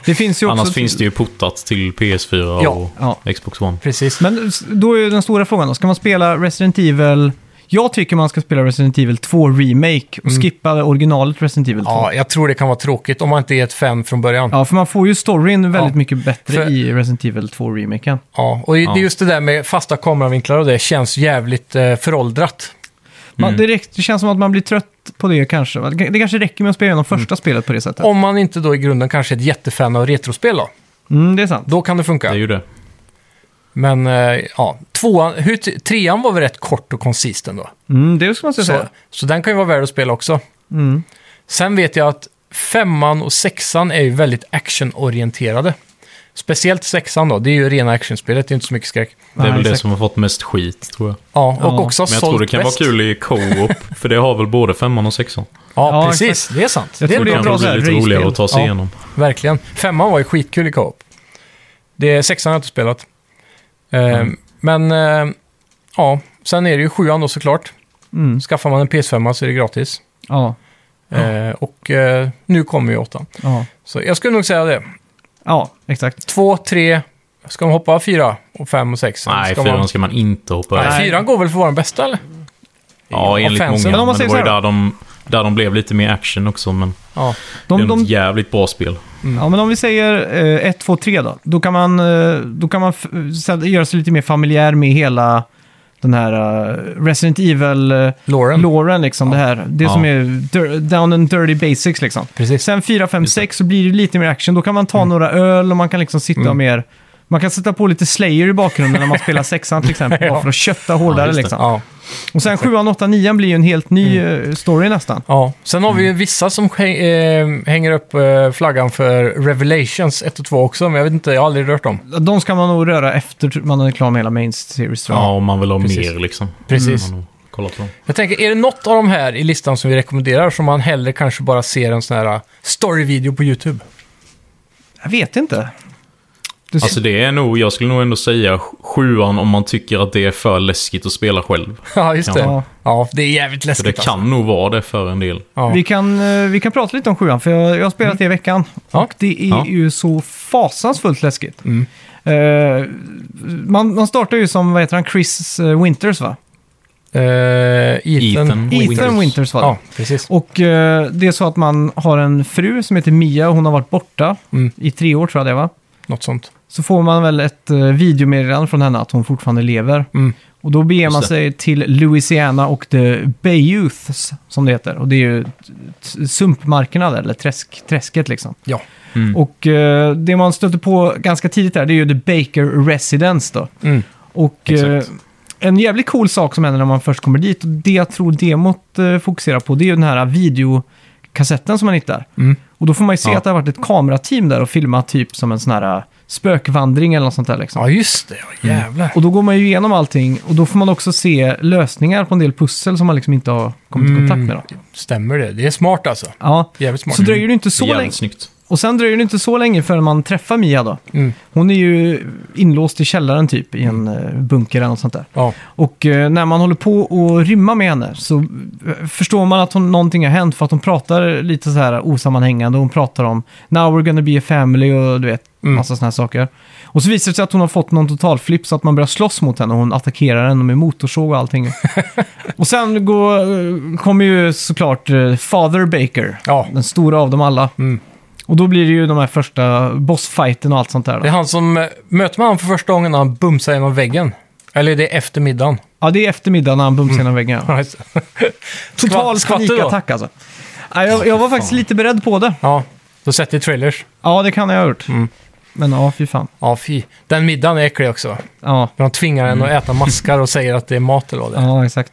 Speaker 3: Det finns ju också...
Speaker 2: Annars finns det ju portat till PS4 och
Speaker 3: Ja,
Speaker 2: Xbox One.
Speaker 1: Precis.
Speaker 3: Men s- då är ju den stora frågan då. Ska man spela Resident Evil... Jag tycker man ska spela Resident Evil 2 Remake och
Speaker 1: Mm.
Speaker 3: skippa originalet Resident Evil 2.
Speaker 1: Ja, jag tror det kan vara tråkigt om man inte är ett fan från början. Ja.
Speaker 3: Ja, för man får ju storyn väldigt
Speaker 1: Ja.
Speaker 3: mycket bättre
Speaker 1: För-
Speaker 3: i Resident Evil 2-remaken.
Speaker 1: Och det är
Speaker 2: Ja.
Speaker 1: just det där med fasta kameravinklar och det känns jävligt eh, föråldrat.
Speaker 3: Mm. Det, räck- det känns som att man blir trött på det kanske. va? Det kanske räcker med att spela igenom första spelet på det sättet.
Speaker 1: Om man inte då i grunden kanske är ett jättefan av retrospel då.
Speaker 3: Mm, det är sant.
Speaker 1: Då kan det funka.
Speaker 2: Det är ju det.
Speaker 1: Men eh, ja, tvåan, hur, t- trean var väl rätt kort och konsist ändå.
Speaker 3: Mm, det skulle man säga.
Speaker 1: Så, så den kan ju vara värd att spela också.
Speaker 3: Mm.
Speaker 1: Sen vet jag att femman och sexan är ju väldigt actionorienterade. Speciellt sexan då, det är ju rena actionspelet, det är inte så mycket skräck.
Speaker 2: Det är
Speaker 3: Ja,
Speaker 2: väl det
Speaker 3: exakt.
Speaker 2: som har fått mest skit tror jag.
Speaker 1: Ja, och
Speaker 3: Ja.
Speaker 1: också har
Speaker 2: Men jag
Speaker 1: sålt
Speaker 2: tror det kan
Speaker 1: bäst.
Speaker 2: vara kul i co-op. för det har väl både femman och sexan.
Speaker 1: Ja,
Speaker 3: Ja,
Speaker 1: precis. Det är sant.
Speaker 3: Jag
Speaker 1: det är
Speaker 3: tror
Speaker 2: Det
Speaker 1: bra.
Speaker 2: kan
Speaker 3: bra så
Speaker 2: bli
Speaker 3: här
Speaker 2: lite
Speaker 3: race-spel.
Speaker 2: roligare att ta sig
Speaker 1: Ja.
Speaker 2: igenom.
Speaker 1: Verkligen. Femman var ju skitkul i co-op. Det, sexan har jag inte spelat. Eh,
Speaker 2: Mm.
Speaker 1: Men eh, ja, sen är det ju sjuan då såklart.
Speaker 3: Mm.
Speaker 1: Skaffar man en PS5 så är det gratis.
Speaker 3: Ja,
Speaker 1: Eh, och eh, nu kommer ju åttan.
Speaker 3: ja.
Speaker 1: Så jag skulle nog säga det.
Speaker 3: ja, exakt.
Speaker 1: Två, tre, ska man hoppa fyra och fem och sex?
Speaker 2: Nej,
Speaker 1: ska
Speaker 2: fyran
Speaker 1: man...
Speaker 2: ska man inte hoppa över.
Speaker 1: Nej, fyran går väl för att vara den bästa eller?
Speaker 2: Ja, enligt
Speaker 1: offensive.
Speaker 2: många.
Speaker 3: Men om man
Speaker 2: Men det
Speaker 3: säger
Speaker 2: var ju
Speaker 3: så här
Speaker 2: där de, där de blev lite mer action också. Men
Speaker 1: Ja,
Speaker 3: De,
Speaker 2: det är ett
Speaker 3: de,
Speaker 2: jävligt bra spel.
Speaker 3: ja, men om vi säger eh, 1, 2, 3 då. Då kan man, eh, då kan man f- sen göra sig lite mer familjär med hela den här eh, Resident Evil... Eh,
Speaker 1: Lauren.
Speaker 3: Lauren liksom, det här. Det
Speaker 2: Ja.
Speaker 3: som är dir- down and dirty basics liksom.
Speaker 1: Precis.
Speaker 3: Sen 4, 5, 6 så blir det lite mer action. Då kan man ta några öl och man kan liksom sitta och mer... Man kan sätta på lite Slayer i bakgrunden när man spelar sexan till exempel, bara för att kötta hårdare
Speaker 2: just det.
Speaker 3: liksom.
Speaker 1: ja.
Speaker 3: Och sen 7, 8, 9 blir ju en helt ny eh, story nästan.
Speaker 1: ja. Sen har vi ju vissa som häng, eh, hänger upp eh, flaggan för Revelations 1 och 2 också, men jag vet inte, jag har aldrig rört dem.
Speaker 3: De ska man nog röra efter man är klar med hela main series tror jag.
Speaker 2: Ja, om man vill ha
Speaker 1: Precis.
Speaker 2: mer liksom.
Speaker 1: Precis.
Speaker 2: Mm. kollat på dem.
Speaker 1: Jag tänker, är det något av de här i listan som vi rekommenderar som man hellre kanske bara ser en sån här eh, storyvideo på YouTube?
Speaker 3: Jag vet inte. Det-
Speaker 2: Alltså det är nog, jag skulle nog ändå säga sjuan om man tycker att det är för läskigt att spela själv.
Speaker 1: ja, just det.
Speaker 3: Ja.
Speaker 1: Ja. det är jävligt
Speaker 2: För
Speaker 1: läskigt.
Speaker 2: det kan nog vara det för en del.
Speaker 1: alltså.
Speaker 3: Vi,
Speaker 1: ja.
Speaker 3: kan, eh, vi kan prata lite om sjuan, för jag, jag har spelat det i veckan.
Speaker 1: Ja.
Speaker 3: Och det är
Speaker 2: Ja.
Speaker 3: ju så fasansfullt läskigt. Eh, man, man startar ju som, vad heter han, Chris eh, Winters va?
Speaker 1: Eh, Ethan,
Speaker 2: Ethan
Speaker 3: Ethan Winters var det.
Speaker 1: Ja, precis.
Speaker 3: Och eh, det är så att man har en fru som heter Mia och hon har varit borta
Speaker 1: Mm.
Speaker 3: i tre år tror jag det var.
Speaker 1: Något sånt.
Speaker 3: Så får man väl ett eh, videomeddelande från henne att hon fortfarande lever.
Speaker 1: Mm.
Speaker 3: Och då beger
Speaker 2: Just
Speaker 3: man
Speaker 2: det.
Speaker 3: sig till Louisiana och The Bayouths, som det heter. Och det är ju t- t- sumpmarkerna där, eller träsk, träsket liksom.
Speaker 1: Ja.
Speaker 2: Mm.
Speaker 3: Och eh, det man stötte på ganska tidigt där, det är ju The Baker Residence då.
Speaker 1: Mm.
Speaker 3: Och eh,
Speaker 2: Exakt.
Speaker 3: en jävligt cool sak som händer när man först kommer dit, och det jag tror demot eh, fokuserar på, det är ju den här videokassetten som man hittar.
Speaker 1: Mm.
Speaker 3: Och då får man ju se
Speaker 2: Ja.
Speaker 3: att det har varit ett kamerateam där och filmat typ som en sån här eh, spökvandring eller något sånt där liksom.
Speaker 1: Ja, just det. Ja, jävlar.
Speaker 3: Och då går man ju igenom allting och då får man också se lösningar på en del pussel som man liksom inte har kommit
Speaker 2: Mm.
Speaker 3: i kontakt med. Då.
Speaker 1: Stämmer det? Det är smart alltså.
Speaker 3: Ja.
Speaker 1: Jävligt smart.
Speaker 3: Så dröjer det inte så länge.
Speaker 2: Jävligt snyggt.
Speaker 3: Och sen dröjer det inte så länge förrän man träffar Mia då.
Speaker 1: Mm.
Speaker 3: Hon är ju inlåst i källaren typ i
Speaker 2: Mm.
Speaker 3: en eh, bunker eller något sånt där.
Speaker 1: Ja.
Speaker 3: Och eh, när man håller på och rymma med henne så eh, förstår man att hon, någonting har hänt för att hon pratar lite så här osammanhängande. Hon pratar om “Now we're gonna be a family” och du vet,
Speaker 1: Mm.
Speaker 3: massa såna här saker. Och så visar det sig att hon har fått någon totalflipp så att man börjar slåss mot henne och hon attackerar henne med motorsåg och allting. och sen går, eh, kommer ju såklart eh, Father Baker,
Speaker 1: Ja.
Speaker 3: den stora av dem alla.
Speaker 1: Mm.
Speaker 3: Och då blir det ju de här första bossfighten och allt sånt där.
Speaker 1: Det är
Speaker 3: Då.
Speaker 1: han som... eh, Möter man honom för första gången när han bumsar genom väggen? Eller är det eftermiddagen?
Speaker 3: Ja, det är eftermiddagen när han bumsar genom väggen. ja.
Speaker 1: Ja, just det.
Speaker 3: Total
Speaker 1: Skvatt- skvatter då?
Speaker 3: panikattack alltså. Nej, jag, jag var faktiskt lite beredd på det.
Speaker 1: Ja, då sätter vi trailers.
Speaker 3: Ja, det kan jag ha gjort. Men ja, fy fan.
Speaker 1: Ja, fy. Den middagen är äcklig också.
Speaker 3: Ja,
Speaker 1: För de tvingar en att äta maskar och säger att det är mat eller vad det är.
Speaker 3: ja exakt.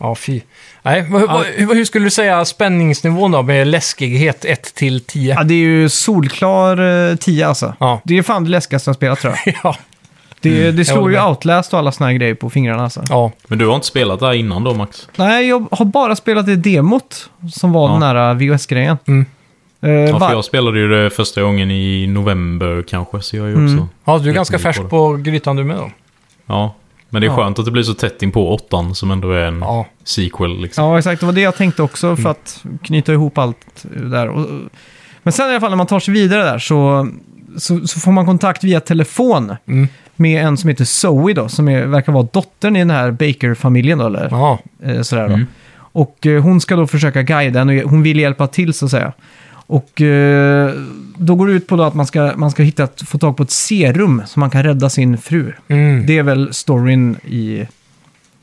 Speaker 1: Ja, fy. Nej, vad- vad- hur, hur skulle du säga spänningsnivån då med läskighet 1 till 10?
Speaker 3: Ja, det är ju solklar eh, 10 alltså.
Speaker 1: Ja.
Speaker 3: Det är fan det läskigaste jag spelat tror jag.
Speaker 1: Ja.
Speaker 3: Det, det
Speaker 1: Jag
Speaker 3: slår
Speaker 1: håller
Speaker 3: ju
Speaker 1: med.
Speaker 3: Outlast och alla såna här grejer på fingrarna alltså.
Speaker 1: ja.
Speaker 2: Men du har inte spelat det här innan då Max?
Speaker 3: Nej, jag har bara spelat det demot som var
Speaker 2: Ja.
Speaker 3: den här VHS-grejen.
Speaker 1: Mm.
Speaker 3: Eh,
Speaker 2: Ja,
Speaker 3: var-
Speaker 2: för jag spelade ju det första gången i november kanske, så jag är ju
Speaker 3: Mm.
Speaker 2: också...
Speaker 1: Ja, du är ganska
Speaker 2: Jättemycket
Speaker 1: färsk
Speaker 2: på det.
Speaker 1: på grytan du med då.
Speaker 2: Ja. Men det är
Speaker 3: Ja.
Speaker 2: skönt att det blir så tätt in på åttan som ändå är en
Speaker 1: Ja.
Speaker 2: sequel liksom.
Speaker 3: Ja, exakt. Det var det jag tänkte också
Speaker 1: Mm.
Speaker 3: för att knyta ihop allt där. Och- Men sen i alla fall när man tar sig vidare där så, så, så får man kontakt via telefon
Speaker 1: Mm.
Speaker 3: med en som heter Zoe då, som är, verkar vara dottern i den här Baker-familjen då, eller
Speaker 1: Ja,
Speaker 3: eh, sådär då.
Speaker 2: Mm.
Speaker 3: Och eh, hon ska då försöka guida en och ge- hon vill hjälpa till så att säga. Och eh, då går det ut på då att man ska, man ska hitta, ett- få tag på ett serum så man kan rädda sin fru.
Speaker 1: mm,
Speaker 3: Det är väl storyn i,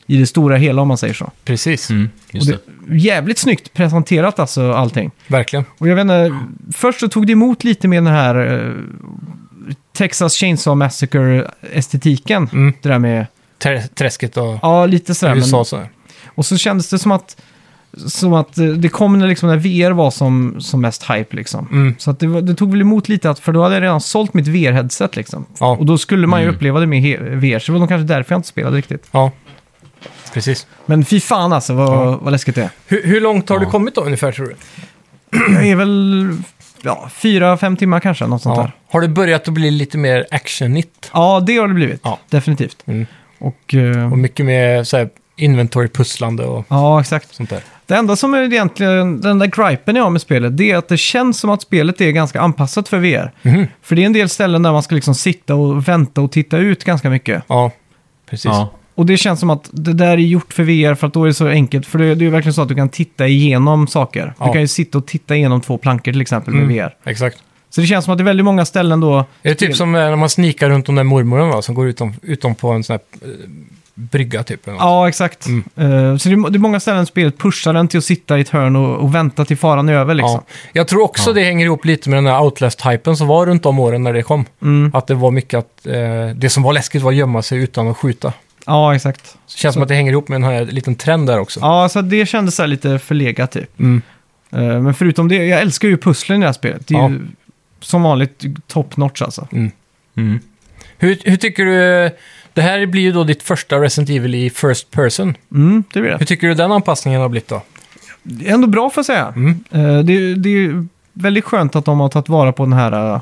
Speaker 3: i det stora hela om man säger så.
Speaker 1: precis.
Speaker 2: Mm,
Speaker 3: Och
Speaker 2: just det.
Speaker 3: det, jävligt snyggt presenterat alltså allting.
Speaker 1: Verkligen.
Speaker 3: Och jag vet inte, först så tog det emot lite med den här eh, Texas Chainsaw Massacre-estetiken.
Speaker 1: Mm.
Speaker 3: Det där med,
Speaker 1: Tr- Träsket och
Speaker 3: ja lite sådär.
Speaker 1: USA
Speaker 3: Men,
Speaker 1: och sådär.
Speaker 3: och så kändes det som att, som att eh, det kom när, liksom, när VR var som, som mest hype liksom.
Speaker 1: Mm.
Speaker 3: Så att det, var, det tog väl emot lite, att, för då hade jag redan sålt mitt VR-headset liksom.
Speaker 1: Ja.
Speaker 3: Och då skulle man ju
Speaker 2: Mm.
Speaker 3: uppleva det med he- VR, så det var nog kanske därför jag inte spelade riktigt.
Speaker 1: Ja, precis.
Speaker 3: Men fy fan alltså, vad, vad läskigt det är.
Speaker 1: Hur, hur långt har
Speaker 2: Ja.
Speaker 1: du kommit då ungefär tror du?
Speaker 3: Jag är väl ja, fyra, fem timmar kanske, något sånt
Speaker 1: Ja.
Speaker 3: där.
Speaker 1: Har det börjat att bli lite mer actionigt?
Speaker 3: Ja, det har det blivit.
Speaker 1: Ja.
Speaker 3: Definitivt.
Speaker 1: Mm.
Speaker 3: Och, eh,
Speaker 1: Och mycket mer så här, inventory-pusslande och
Speaker 3: ja, exakt.
Speaker 1: sånt där.
Speaker 3: Det enda som är egentligen, den där gripen jag har med spelet, det är att det känns som att spelet är ganska anpassat för VR.
Speaker 1: Mhm.
Speaker 3: För det är en del ställen där man ska liksom sitta och vänta och titta ut ganska mycket.
Speaker 1: Ja, precis.
Speaker 2: Ja.
Speaker 3: Och det känns som att det där är gjort för VR för att då är det så enkelt. För det, det är ju verkligen så att du kan titta igenom saker. Du
Speaker 1: Ja. Mm.
Speaker 3: kan ju sitta och titta igenom två plankor till exempel med VR.
Speaker 1: Exakt.
Speaker 3: Så det känns som att det är väldigt många ställen då...
Speaker 1: Är det typ som eh, när man snikar runt om den mormoren va, som går utom, utom på en sån här eh, brygga typ? eller något?
Speaker 3: Ja, exakt. Eh, så det är, det är många ställen spelet pushar den till att sitta i ett hörn och, och vänta till faran är över liksom.
Speaker 1: Ja. Jag tror också det hänger ihop lite med den här Outlast-hypen som var runt om åren när det kom.
Speaker 3: Mm.
Speaker 1: Att det var mycket att eh, det som var läskigt var att gömma sig utan att skjuta.
Speaker 3: Ja, exakt.
Speaker 1: Så det känns som att det hänger ihop med en här liten trend där också.
Speaker 3: Ja, så det kändes så här lite förlegat typ.
Speaker 1: Mm.
Speaker 3: Eh, men förutom det, jag älskar ju pusslen i det här spelet. Det är
Speaker 1: Ja.
Speaker 3: ju som vanligt top notch alltså.
Speaker 2: Mm.
Speaker 1: Hur, hur tycker du eh, Det här blir ju då ditt första Resident Evil i First Person.
Speaker 3: Mm, det blir det.
Speaker 1: Hur tycker du den anpassningen har blivit då?
Speaker 3: Det är ändå bra får jag säga.
Speaker 1: Mm.
Speaker 3: Eh, Det, är- det är ju väldigt skönt att de har tagit vara på den här, eh,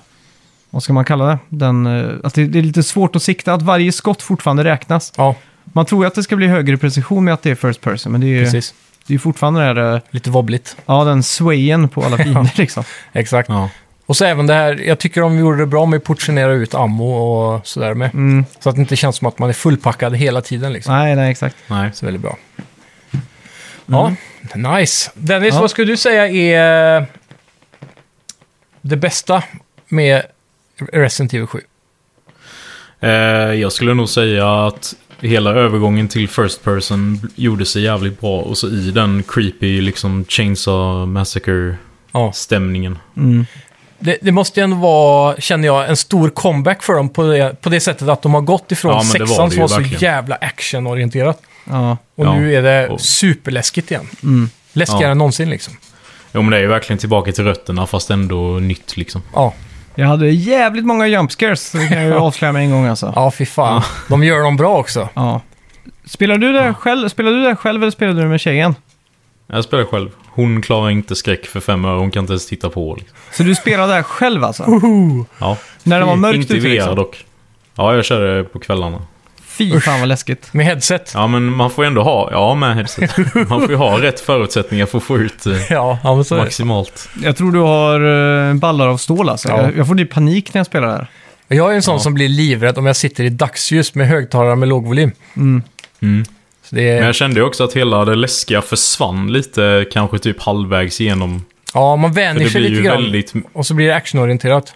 Speaker 3: vad ska man kalla det? Den, eh, att det, det är lite svårt att sikta, att varje skott fortfarande räknas.
Speaker 1: Ja,
Speaker 3: Man tror ju att det ska bli högre precision med att det är first person, men det är ju,
Speaker 1: precis.
Speaker 3: det är ju fortfarande det här, eh,
Speaker 1: Lite wobbligt.
Speaker 3: ja, den swayen på alla fiender liksom.
Speaker 1: Exakt.
Speaker 2: Ja.
Speaker 1: Och så även det här, jag tycker de gjorde det bra med att portionera ut ammo och sådär med.
Speaker 3: Mm.
Speaker 1: Så att det inte känns som att man är fullpackad hela tiden liksom.
Speaker 3: Nej, nej, exakt.
Speaker 2: Nej.
Speaker 1: Så väldigt bra. Ja, nice. Dennis,
Speaker 3: Ja.
Speaker 1: vad skulle du säga är eh, det bästa med Resident Evil 7?
Speaker 2: Eh, jag skulle nog säga att hela övergången till First Person gjorde sig jävligt bra. Och så i den creepy liksom Chainsaw Massacre-stämningen.
Speaker 1: Ja. Det, det måste ju ändå vara, känner jag, en stor comeback för dem på det, på det sättet att de har gått ifrån
Speaker 2: Ja, men det var
Speaker 1: sexan
Speaker 2: det
Speaker 1: som
Speaker 2: ju
Speaker 1: var så
Speaker 2: verkligen.
Speaker 1: jävla actionorienterat.
Speaker 3: Ja.
Speaker 1: Och
Speaker 2: Ja.
Speaker 1: nu är det
Speaker 2: Och- Mm.
Speaker 1: superläskigt igen. Läskigare
Speaker 2: Ja.
Speaker 1: än någonsin liksom.
Speaker 2: Jo men det är ju verkligen tillbaka till rötterna fast ändå nytt liksom.
Speaker 1: Ja,
Speaker 3: Jag hade jävligt många jump scares, så det kan jag ju avslöja med en gång alltså.
Speaker 1: ja fy fan. De gör dem bra också.
Speaker 3: Ja. Spelar du det själv, spelar du det själv eller spelar du det med tjejen?
Speaker 2: Jag spelar själv. Hon klarar inte skräck för fem öre, hon kan inte ens titta på. Liksom.
Speaker 3: Så du spelar det här själv alltså?
Speaker 2: Ja.
Speaker 3: När det var mörkt
Speaker 2: inte i
Speaker 3: ute
Speaker 2: VR
Speaker 3: liksom?
Speaker 2: dock. Ja, jag kör det på kvällarna.
Speaker 3: Fy fan vad läskigt.
Speaker 1: Med headset.
Speaker 2: Ja, men man får ju ändå ha, ja med headset. Man får ju ha rätt förutsättningar för att få ut eh,
Speaker 1: Ja, ja men så är det.
Speaker 2: maximalt.
Speaker 3: Jag tror du har eh, ballar av stål alltså.
Speaker 1: Ja.
Speaker 3: Jag, jag får typ panik när jag spelar det här.
Speaker 1: Jag är en sån som blir livrädd om jag sitter i dagsljus med högtalare med låg volym.
Speaker 2: Mm.
Speaker 1: Så det
Speaker 2: Men
Speaker 1: är,
Speaker 2: jag kände ju också att hela det läskiga försvann lite, kanske typ halvvägs igenom.
Speaker 1: ja, man
Speaker 2: För
Speaker 1: vänjer
Speaker 2: det
Speaker 1: sig
Speaker 2: blir
Speaker 1: lite
Speaker 2: ju
Speaker 1: grann.
Speaker 2: väldigt...
Speaker 1: Och så blir det actionorienterat.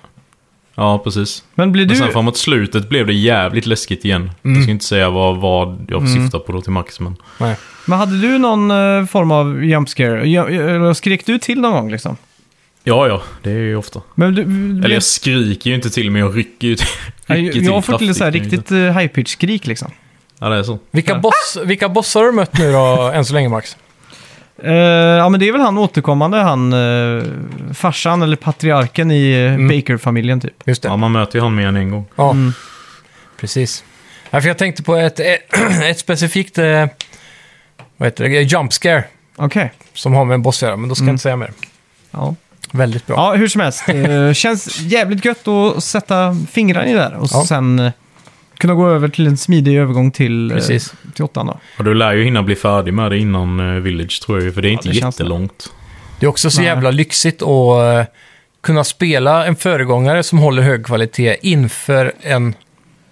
Speaker 2: Ja, precis.
Speaker 3: Men blir
Speaker 2: Men
Speaker 3: du... Mm.
Speaker 2: sen framåt slutet blev det jävligt läskigt igen. Jag ska inte säga vad, vad jag syftar på då till max, men...
Speaker 1: Nej.
Speaker 3: Men hade du någon eh, form av jump scare? Ja, eller skrek du till någon gång liksom?
Speaker 2: Ja, ja, det är ju ofta.
Speaker 3: Men du,
Speaker 2: Eller typ jag skriker ju inte till, men jag rycker ju till.
Speaker 3: jag,
Speaker 2: rycker
Speaker 3: jag,
Speaker 2: till
Speaker 3: har fått till
Speaker 2: kraftigt.
Speaker 3: så här riktigt high pitch skrik liksom.
Speaker 2: Ja, det är så.
Speaker 1: Vilka, boss, vilka bossar har du mött nu då, än så länge Max?
Speaker 3: Eh, ja men det är väl han återkommande, han uh, farsan eller patriarken i eh,
Speaker 1: Mm.
Speaker 3: Baker-familjen typ. Mm.
Speaker 1: Just det.
Speaker 2: Ja,
Speaker 1: Ja,
Speaker 2: man möter ju han mer än en gång.
Speaker 1: precis. Ja, för jag tänkte på ett, ett specifikt eh, vad heter det? jump scare
Speaker 3: Okej.
Speaker 1: som har med en boss att göra, men då ska jag inte säga mer.
Speaker 3: Ja.
Speaker 1: Väldigt bra.
Speaker 3: Mm. ja, hur som helst. Eh, känns jävligt gött att sätta fingrarna i där och
Speaker 1: Ja.
Speaker 3: sen eh, kunna gå över till en smidig övergång till, eh,
Speaker 1: Precis.
Speaker 3: till åttan då.
Speaker 2: Och du lär ju hinna bli färdig med det innan eh, Village tror jag ju, för det är inte
Speaker 3: det känns
Speaker 2: jättelångt.
Speaker 1: Det är också så
Speaker 3: Nej.
Speaker 1: jävla lyxigt att eh, kunna spela en föregångare som håller hög kvalitet inför en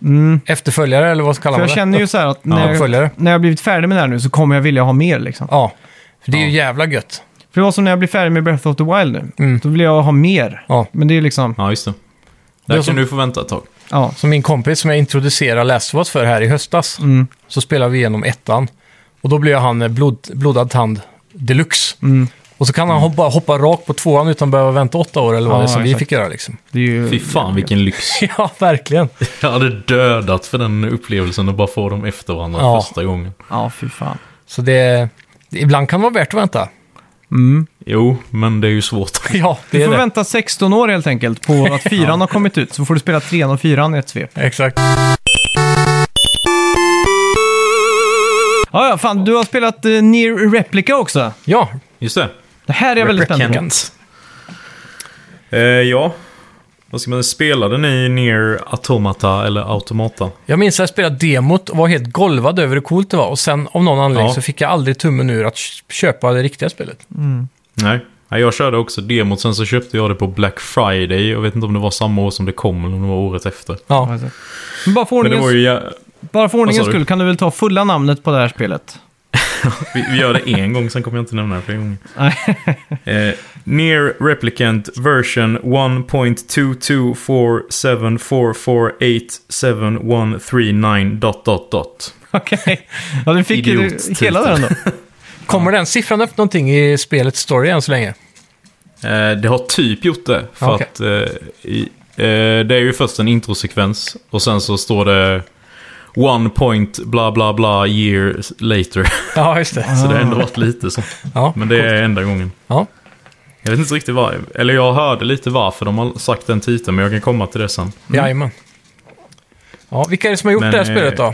Speaker 3: Mm.
Speaker 1: efterföljare, eller vad kallar
Speaker 3: För
Speaker 1: man
Speaker 3: jag
Speaker 1: det?
Speaker 3: känner ju så här att när, jag,
Speaker 1: Uppföljare.
Speaker 3: när jag blivit färdig med det här nu så kommer jag vilja ha mer liksom.
Speaker 1: Ja, för det är ju jävla gött.
Speaker 3: För det var som när jag blev färdig med Breath of the Wild nu.
Speaker 1: Mm.
Speaker 3: Då vill jag ha mer.
Speaker 1: Ja.
Speaker 3: Men det är liksom,
Speaker 2: Ja, just det.
Speaker 1: Det är
Speaker 2: Där kan
Speaker 1: som-
Speaker 2: du få vänta ett tag.
Speaker 3: ja.
Speaker 1: Som min kompis som jag introducerade Last of Us för här i höstas,
Speaker 3: Mm.
Speaker 1: så spelade vi igenom ettan. Och då blev han eh, blod, blodad tand deluxe.
Speaker 3: Mm.
Speaker 1: Och så kan han hoppa, hoppa rakt på tvåan utan att behöva vänta åtta år eller vad
Speaker 3: Ja,
Speaker 1: det är som vi
Speaker 3: exakt.
Speaker 1: fick göra liksom.
Speaker 3: Det är ju...
Speaker 2: Fy fan vilken lyx.
Speaker 1: Ja, verkligen.
Speaker 2: Jag hade dödat för den upplevelsen och bara få dem efter varandra
Speaker 1: Ja.
Speaker 2: första gången.
Speaker 3: Ja, fy fan.
Speaker 1: Så det, det... Ibland kan det vara värt att vänta.
Speaker 3: Mm.
Speaker 2: Jo, men det är ju svårt.
Speaker 1: Ja, det
Speaker 3: Du
Speaker 1: är
Speaker 3: får
Speaker 1: det.
Speaker 3: vänta 16 år helt enkelt på att fyran har kommit ut. Så får du spela trean och fyran i ett svep.
Speaker 1: Exakt.
Speaker 3: Ja, ja, fan. Du har spelat eh, Near Replica också.
Speaker 1: Ja,
Speaker 2: Just det.
Speaker 3: Det här är jag väldigt spänd på.
Speaker 2: Replicant. Eh, ja. Vad ska man Spelade ni Near Automata eller Automata?
Speaker 1: Jag minns att jag spelade demot och var helt golvad över hur coolt det var. Och sen av någon anledning
Speaker 2: Ja.
Speaker 1: så fick jag aldrig tummen ur att k- köpa det riktiga spelet.
Speaker 2: Nej. Nej, jag körde också demot. Sen så köpte jag det på Black Friday. Jag vet inte om det var samma år som det kom eller om det var året efter.
Speaker 1: Ja,
Speaker 3: Men bara för
Speaker 2: Men det
Speaker 3: ordningens,
Speaker 2: var ju... jä-
Speaker 3: bara för ordningens
Speaker 2: Vad sa du?
Speaker 3: skull kan du väl ta fulla namnet på det här spelet?
Speaker 2: Vi, vi gör det en gång, sen kommer jag inte nämna det fler gånger.
Speaker 3: Nej.
Speaker 2: Eh, Near Replicant version 1.22474487139 dot dot dot.
Speaker 3: Okej. Ja, du fick ju
Speaker 2: Idiot-titel.
Speaker 3: hela den då.
Speaker 1: kommer den siffran upp någonting i spelets story än så länge?
Speaker 2: Eh, det har typ gjort det. För
Speaker 1: Okej.
Speaker 2: att eh, i, eh, det är ju först en introsekvens och sen så står det One point bla bla bla year later.
Speaker 1: Ja, just det.
Speaker 2: Så det har ändå varit lite sånt.
Speaker 1: Ah. Ja,
Speaker 2: Men det är enda gången.
Speaker 1: ja.
Speaker 2: Jag vet inte riktigt var, eller jag hörde lite varför de har sagt den titeln, men jag kan komma till det sen.
Speaker 1: Jajamän. Mm. Ja, vilka är det som har gjort
Speaker 2: Men,
Speaker 1: det här
Speaker 2: eh,
Speaker 1: spelet då?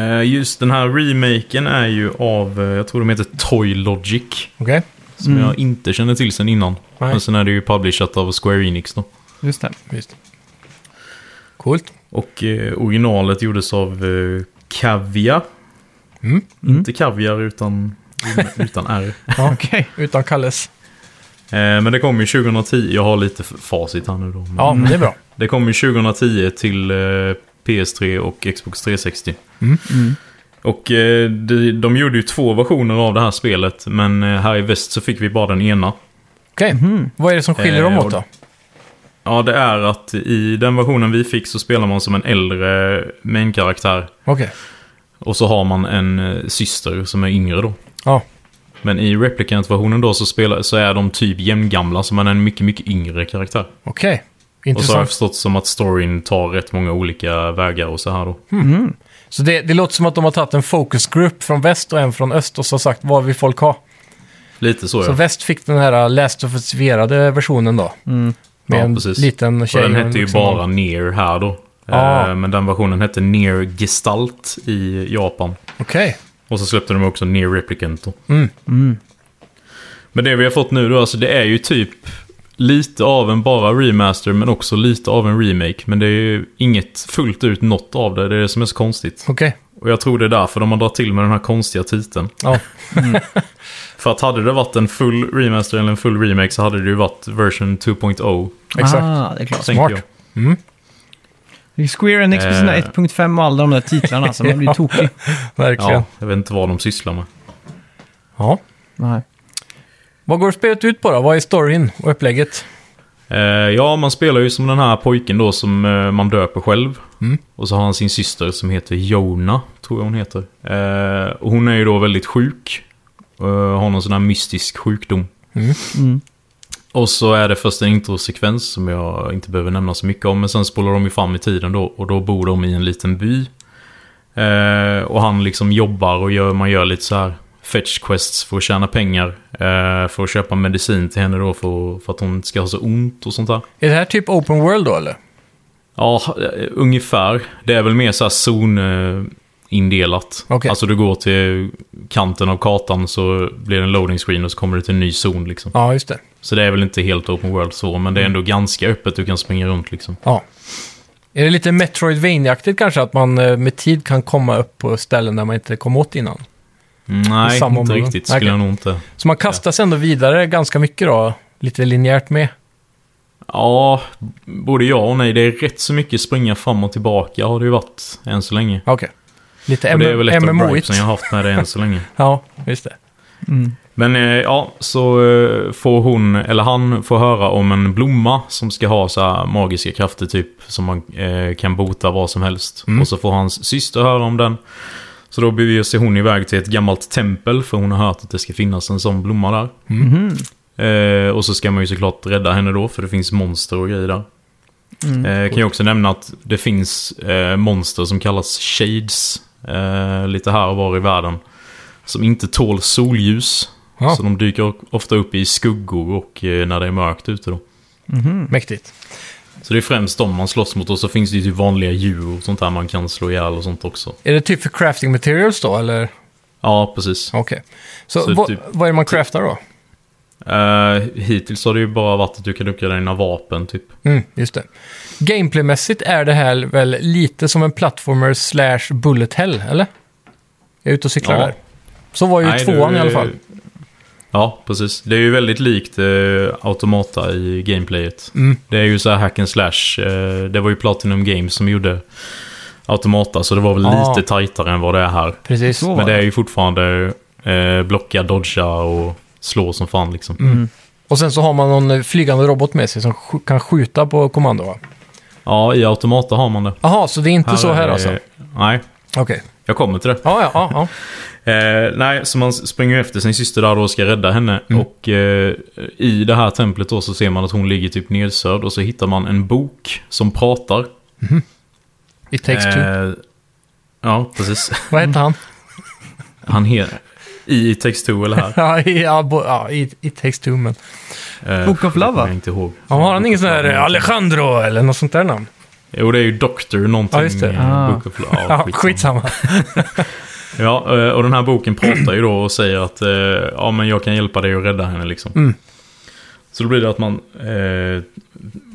Speaker 2: Eh, Just den här remaken är ju av, eh, jag tror de heter Toy Logic.
Speaker 1: Okej.
Speaker 2: Som jag inte känner till sen innan.
Speaker 1: Mm. Nej.
Speaker 2: Men sen är det ju publishat av Square Enix då.
Speaker 3: Just det.
Speaker 1: Visst. Coolt.
Speaker 2: Och eh, originalet gjordes av eh, Cavia.
Speaker 1: Mm.
Speaker 2: Inte Caviar utan, utan R.
Speaker 1: Ja,
Speaker 3: Okej.
Speaker 1: utan Kalles.
Speaker 2: Eh, Men det kom ju 2010, jag har lite f- facit här nu då. men-
Speaker 1: Ja, men det är bra.
Speaker 2: Det kom ju 2010 till eh, PS3 och Xbox 360.
Speaker 1: Mm.
Speaker 2: Och eh, de, de gjorde ju två versioner av det här spelet, men eh, här i väst så fick vi bara den ena.
Speaker 1: Okej, vad är det som skiljer dem
Speaker 2: Eh,
Speaker 1: åt
Speaker 2: och-
Speaker 1: då?
Speaker 2: Ja, det är att i den versionen vi fick så spelar man som en äldre main-karaktär.
Speaker 1: Okej.
Speaker 2: Och så har man en eh, syster som är yngre då.
Speaker 1: Ja,
Speaker 2: Men i replicant-versionen då så, spelar, så är de typ jämngamla, så man är en mycket, mycket yngre karaktär.
Speaker 1: okej.
Speaker 2: Och så har jag
Speaker 1: Intressant. Så,
Speaker 2: förstått som att storyn tar rätt många olika vägar och så här då.
Speaker 1: Mm. det, det låter som att de har tagit en focusgrupp från väst och en från öst och så har sagt vad vill folk ha?
Speaker 2: Lite så,
Speaker 1: Så
Speaker 2: ja.
Speaker 1: väst fick den här äh, läst versionen då. Med
Speaker 2: Ja,
Speaker 1: en
Speaker 2: precis.
Speaker 1: liten
Speaker 2: Och
Speaker 1: tjej.
Speaker 2: den
Speaker 1: och en
Speaker 2: hette ju
Speaker 1: vuxen
Speaker 2: bara
Speaker 1: man.
Speaker 2: Near här då.
Speaker 1: Ja.
Speaker 2: Eh, Men den versionen hette Near Gestalt i Japan.
Speaker 1: Okej.
Speaker 2: Och så släppte de också Near Replicant då.
Speaker 1: Mm.
Speaker 2: Men det vi har fått nu då, alltså det är ju typ lite av en bara remaster men också lite av en remake. Men det är ju inget fullt ut något av det, det är det som är så konstigt.
Speaker 1: Okej.
Speaker 2: Och jag tror det är därför de har dragit till med den här konstiga titeln.
Speaker 1: Ja.
Speaker 2: För att hade det varit en full remaster eller en full remake så hade det ju varit version 2.0.
Speaker 1: Exakt.
Speaker 3: Ah, det är klart.
Speaker 2: tänker
Speaker 1: Smart.
Speaker 2: jag.
Speaker 3: Det är Square Enix med sina
Speaker 2: Eh.
Speaker 3: 1.5 och alla de där titlarna, så man blir tokig.
Speaker 1: Verkligen.
Speaker 2: Ja,
Speaker 1: Ja.
Speaker 2: jag vet inte vad de sysslar med.
Speaker 3: Nej.
Speaker 1: Vad går spelet ut på då? Vad är storyn och upplägget?
Speaker 2: Eh, ja, man spelar ju som den här pojken då som eh, man döper själv.
Speaker 1: Mm.
Speaker 2: Och så har han sin syster som heter Jona, tror jag hon heter. Eh, och hon är ju då väldigt sjuk. Eh, har någon sån här mystisk sjukdom.
Speaker 1: Mm.
Speaker 3: Mm.
Speaker 2: Och så är det först en introsekvens som jag inte behöver nämna så mycket om. Men sen spolar de ju fram i tiden då och då bor de i en liten by. Eh, och han liksom jobbar och gör, man gör lite så här fetch quests för att tjäna pengar. Eh, för att köpa medicin till henne då för, för att hon inte ska ha så ont och sånt där.
Speaker 1: Är det här typ open world då eller?
Speaker 2: Ja, eh, ungefär. Det är väl mer så här zon eh, indelat.
Speaker 1: Okej.
Speaker 2: Alltså du går till kanten av kartan så blir det en loading screen och så kommer du till en ny zon liksom.
Speaker 1: Ja, just det.
Speaker 2: Så det är väl inte helt open world så, men det är ändå ganska öppet. Du kan springa runt liksom.
Speaker 1: Ja. Är det lite Metroidvania-aktigt kanske? Att man eh, med tid kan komma upp på ställen där man inte kom åt innan?
Speaker 2: Nej,
Speaker 1: samma
Speaker 2: inte
Speaker 1: område.
Speaker 2: riktigt. Skulle
Speaker 1: Okej.
Speaker 2: jag nog inte.
Speaker 1: Så man kastas ändå vidare ganska mycket då? Lite linjärt med?
Speaker 2: Ja, både ja och nej. Det är rätt så mycket springa fram och tillbaka har det ju varit än så länge.
Speaker 1: Ja, Okej. Lite
Speaker 2: Och
Speaker 1: M-
Speaker 2: det är väl ett av
Speaker 1: MMO-igt.
Speaker 2: gripesen jag har haft med det än så länge.
Speaker 1: Ja, just det.
Speaker 2: Men eh, ja, så eh, får hon, eller han, får höra om en blomma som ska ha så här magiska krafter typ. Som man eh, kan bota vad som helst.
Speaker 1: Mm.
Speaker 2: Och så får hans syster höra om den. Så då beger sig hon iväg till ett gammalt tempel för hon har hört att det ska finnas en sån blomma där. Eh, och så ska man ju såklart rädda henne då för det finns monster och grejer där. Eh, kan jag också nämna att det finns eh, monster som kallas shades. Eh, lite här och var i världen. Som inte tål solljus.
Speaker 1: Ja.
Speaker 2: Så de dyker ofta upp i skuggor och eh, när det är mörkt ute då. Mm.
Speaker 1: Mäktigt.
Speaker 2: Så det är främst de man slåss mot och så finns det ju typ vanliga djur och sånt där man kan slå ihjäl och sånt också.
Speaker 1: Är det typ för crafting materials då, eller?
Speaker 2: Ja, precis.
Speaker 1: Okej. Så,
Speaker 2: Så
Speaker 1: vad,
Speaker 2: typ-
Speaker 1: vad är det man craftar då?
Speaker 2: Eh, hittills har det ju bara varit att du kan uppgradera dina vapen typ.
Speaker 1: Mm, just det. Gameplaymässigt är det här väl lite som en plattformer slash bullet hell, eller? Jag är ute och cyklar
Speaker 2: Ja.
Speaker 1: där. Så var ju
Speaker 2: Nej,
Speaker 1: tvåan
Speaker 2: du-
Speaker 1: i alla fall.
Speaker 2: Ja, precis. Det är ju väldigt likt eh, Automata i gameplayet.
Speaker 1: Mm.
Speaker 2: Det är ju så här hack and slash. Eh, det var ju Platinum Games som gjorde Automata, så det var väl
Speaker 1: Ah.
Speaker 2: lite tajtare än vad det är här.
Speaker 1: Precis.
Speaker 3: Så.
Speaker 2: Men det är ju fortfarande eh, blocka, dodga och slå som fan liksom.
Speaker 1: Mm. Och sen så har man någon eh, flygande robot med sig som sk- kan skjuta på kommando, va?
Speaker 2: Ja, i Automata har man det.
Speaker 1: Jaha, så det är inte så här
Speaker 2: är-
Speaker 1: alltså? Okej.
Speaker 2: Nej, jag kommer till det.
Speaker 1: Ja, ja, ja. ja.
Speaker 2: Eh, nej, så man springer ju efter sin syster där då och ska rädda henne.
Speaker 1: Mm.
Speaker 2: Och eh, i det här templet då så ser man att hon ligger typ nedsövd och så hittar man en bok som pratar.
Speaker 1: It takes two.
Speaker 2: Eh, ja, precis.
Speaker 1: Vad hette han?
Speaker 2: Han heter... I Text 2 eller här.
Speaker 1: ja, i, ja, bo, ja i, i takes two, men...
Speaker 2: Eh,
Speaker 3: Book of
Speaker 2: det
Speaker 3: Love,
Speaker 2: kommer
Speaker 3: va?
Speaker 2: Jag inte ihåg.
Speaker 1: Ja, har han ingen sån här
Speaker 2: Book of
Speaker 1: eh,
Speaker 2: Love.
Speaker 1: Alejandro eller något sånt där namn?
Speaker 2: Jo, det är ju Doctor någonting.
Speaker 1: Ja, just det.
Speaker 2: eh,
Speaker 3: Ah.
Speaker 2: Book of Love.
Speaker 1: Ja, skitsamma.
Speaker 2: Ja, eh, och den här boken pratar ju då och säger att eh, ja, men jag kan hjälpa dig att rädda henne. Liksom.
Speaker 1: Mm.
Speaker 2: Så då blir det att man eh,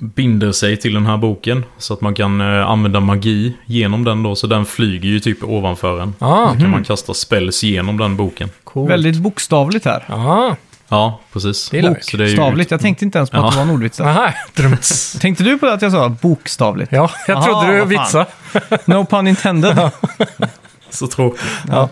Speaker 2: binder sig till den här boken så att man kan eh, använda magi genom den då. Så den flyger ju typ ovanför en.
Speaker 1: Ja,
Speaker 2: Så kan man kasta spells genom den boken.
Speaker 1: coolt.
Speaker 3: Väldigt bokstavligt här.
Speaker 1: Ja,
Speaker 2: Ja, precis. Oh,
Speaker 1: Det gillar vi.
Speaker 2: Så det är ju-
Speaker 3: Bokstavligt? Jag tänkte inte ens på att
Speaker 2: Ja.
Speaker 3: det var en ordvits.
Speaker 1: aha. Drums.
Speaker 3: Tänkte du på det att jag sa bokstavligt?
Speaker 1: Ja, jag
Speaker 3: Aha,
Speaker 1: trodde du
Speaker 3: vad fan.
Speaker 1: vitsa.
Speaker 3: No pun intended.
Speaker 2: Så tråkigt.
Speaker 3: Ja.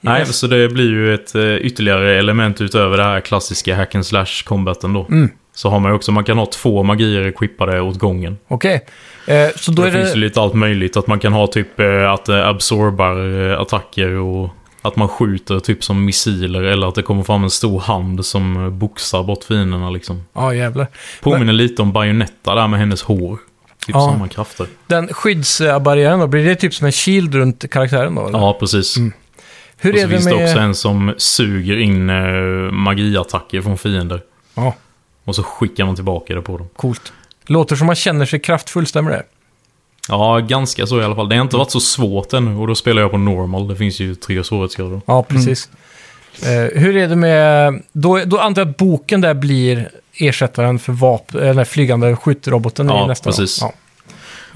Speaker 2: Nej, så det blir ju ett eh, ytterligare element utöver det här klassiska hack and slash combaten då.
Speaker 1: Mm.
Speaker 2: Så har man ju också, man kan ha två magier equippade åt gången.
Speaker 1: Okej. Eh, så då
Speaker 2: det,
Speaker 1: är det...
Speaker 2: finns ju lite allt möjligt. Att man kan ha typ eh, att det absorbar eh, attacker och att man skjuter typ som missiler eller att det kommer fram en stor hand som eh, boxar bort fienderna liksom.
Speaker 1: Ja, jävlar.
Speaker 2: Påminner lite om Bayonetta där med hennes hår. Typ
Speaker 1: Ja.
Speaker 2: samma krafter.
Speaker 1: Den skyddsbarriären då, blir det typ som en shield runt karaktären då? Eller?
Speaker 2: Ja, precis.
Speaker 1: Mm. Hur
Speaker 2: Och så
Speaker 1: är det
Speaker 2: finns det också
Speaker 1: med...
Speaker 2: en som suger in eh, magiattacker från fiender.
Speaker 1: Ja,
Speaker 2: Och så skickar man tillbaka det på dem.
Speaker 1: coolt. Låter som man känner sig kraftfull, stämmer det?
Speaker 2: Ja, ganska så i alla fall. Det har inte varit så svårt ännu. Och då spelar jag på normal. Det finns ju tre svårighetsgrader.
Speaker 1: Ja, precis. Eh, hur är det med... Då, då antar jag att boken där blir ersättaren för vapen, eller den här flygande skjutroboten
Speaker 2: Ja,
Speaker 1: i nästa. då.
Speaker 2: precis.
Speaker 1: Ja,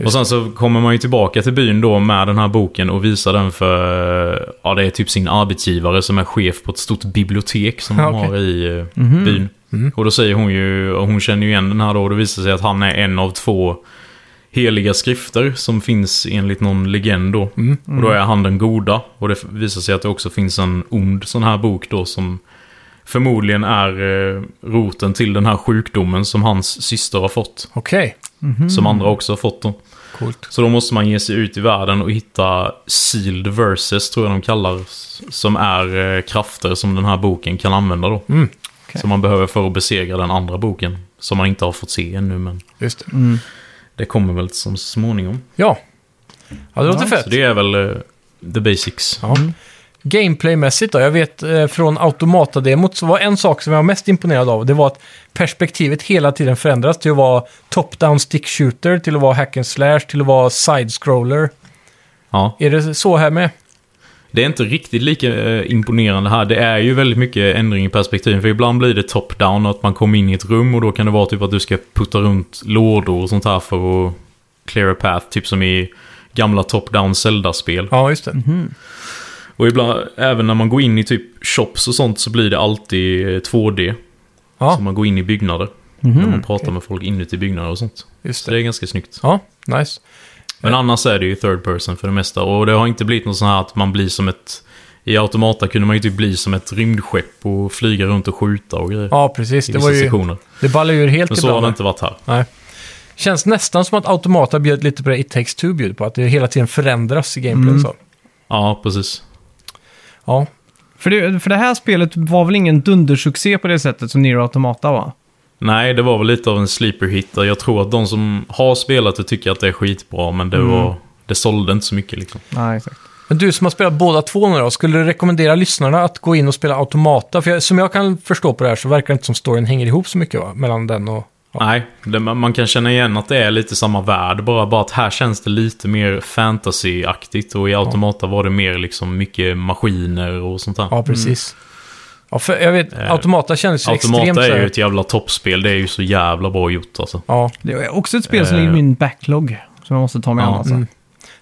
Speaker 2: Och sen så kommer man ju tillbaka till byn då med den här boken och visar den för... Ja, det är typ sin arbetsgivare som är chef på ett stort bibliotek som
Speaker 1: Ja,
Speaker 2: de
Speaker 1: okej. Mhm.
Speaker 2: har i eh, byn. Och då säger hon ju... Och hon känner ju igen den här då. Och det visar sig att han är en av två heliga skrifter som finns enligt någon legend då.
Speaker 1: Mhm.
Speaker 2: Och då är han den goda. Och det visar sig att det också finns en ond sån här bok då som förmodligen är eh, roten till den här sjukdomen som hans syster har fått.
Speaker 1: Okej, Mhm.
Speaker 2: Som andra också har fått då.
Speaker 1: coolt.
Speaker 2: Så då måste man ge sig ut i världen och hitta Sealed Verses, tror jag de kallar Som är eh, krafter som den här boken kan använda då.
Speaker 1: Mm,
Speaker 2: Som man behöver för att besegra den andra boken. Som man inte har fått se ännu, men
Speaker 1: Just det.
Speaker 2: Mm. det kommer väl som småningom.
Speaker 1: Ja. Ja, det låter fett.
Speaker 2: Så det är väl eh, the basics.
Speaker 1: Ja. Gameplaymässigt då? Jag vet eh, från automatademot så var en sak som jag var mest imponerad av. Det var att perspektivet hela tiden förändras till att vara top-down stick shooter, till att vara hack and slash, till att vara side-scroller.
Speaker 2: Ja.
Speaker 1: Är det så här med?
Speaker 2: Det är inte riktigt lika eh, imponerande här. Det är ju väldigt mycket ändring i perspektiven. För ibland blir det top-down, att man kommer in i ett rum och då kan det vara typ att du ska putta runt lådor och sånt här för att clear a path. Typ som i gamla top-down Zelda-spel.
Speaker 1: Ja, just det.
Speaker 2: Mhm. Och ibland, även när man går in i typ shops och sånt så blir det alltid eh, 2D.
Speaker 1: Ja.
Speaker 2: Så man går in i byggnader. När man pratar med folk inuti byggnader och sånt.
Speaker 1: Just
Speaker 2: Så
Speaker 1: det.
Speaker 2: det är ganska snyggt.
Speaker 1: Ja, nice.
Speaker 2: Men annars är det ju third person för det mesta. Och det har inte blivit något sånt här att man blir som ett... I Automata kunde man ju typ bli som ett rymdskepp och flyga runt och skjuta och grejer.
Speaker 1: Ja, precis.
Speaker 2: I
Speaker 1: Det,
Speaker 2: vissa
Speaker 1: var ju,
Speaker 2: sektioner.
Speaker 1: det ballar ju ur helt
Speaker 2: Men så har
Speaker 1: ibland.
Speaker 2: det inte varit här.
Speaker 1: Nej. Känns nästan som att automata bjöd lite på det It takes two bjöd på, att det hela tiden förändras i gameplay
Speaker 2: Mm.
Speaker 1: och så.
Speaker 2: Ja, precis.
Speaker 1: Ja,
Speaker 3: För det, för det här spelet var väl ingen dundersuccé på det sättet som Nier Automata var?
Speaker 2: Nej, det var väl lite av en sleeper hit. där. Jag tror att de som har spelat det tycker att det är skitbra, men det
Speaker 1: Mm.
Speaker 2: var... Det sålde inte så mycket liksom.
Speaker 3: Nej, exakt.
Speaker 1: Men du som har spelat båda två nu då, skulle du rekommendera lyssnarna att gå in och spela Automata? För jag, som jag kan förstå på det här så verkar det inte som storyn hänger ihop så mycket va? Mellan den och...
Speaker 2: Nej, det, man man kan känna igen att det är lite samma värld. Bara, bara att här känns det lite mer fantasy-aktigt. Och i Automata var det mer liksom mycket maskiner och sånt där.
Speaker 1: Ja, precis. Ja, för jag vet, Automata kändes ju extremt
Speaker 2: Eh, Automata
Speaker 1: så
Speaker 2: är ju
Speaker 1: här.
Speaker 2: ett jävla toppspel. Det är ju så jävla bra gjort alltså.
Speaker 1: Ja,
Speaker 3: Det är också ett spel som
Speaker 2: Eh.
Speaker 3: ligger i min backlog. Som jag måste ta mig
Speaker 2: Ja.
Speaker 3: an alltså.
Speaker 1: Mm.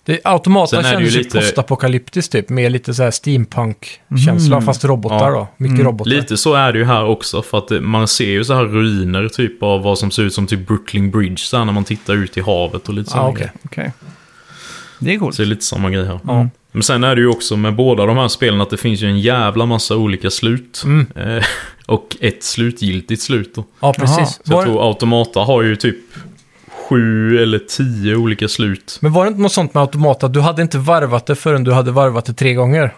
Speaker 1: det, Automata
Speaker 2: Sen är det ju
Speaker 1: kändes ju
Speaker 2: lite-
Speaker 1: postapokalyptiskt typ, med lite så här steampunk-känsla, fast robotar
Speaker 2: Ja. Mm.
Speaker 1: då. Mycket robotar.
Speaker 2: Lite så är det ju här också. För att det, man ser ju så här ruiner typ av vad som ser ut som typ Brooklyn Bridge. Så här, när man tittar ut i havet och lite
Speaker 1: Ja,
Speaker 2: sådana
Speaker 1: Ah, okej.
Speaker 2: grejer.
Speaker 3: Okej. Det är coolt.
Speaker 2: Så det är lite samma grej här.
Speaker 3: Ja.
Speaker 2: Men sen är det ju också med båda de här spelen att det finns ju en jävla massa olika slut.
Speaker 1: Mm.
Speaker 2: Eh, och ett slutgiltigt slut då.
Speaker 1: Ja, precis.
Speaker 2: Så jag
Speaker 1: Var,
Speaker 2: tror Automata har ju typ sju eller tio olika slut.
Speaker 1: Men var det inte något sånt med Automata, att du hade inte varvat det förrän du hade varvat det tre gånger?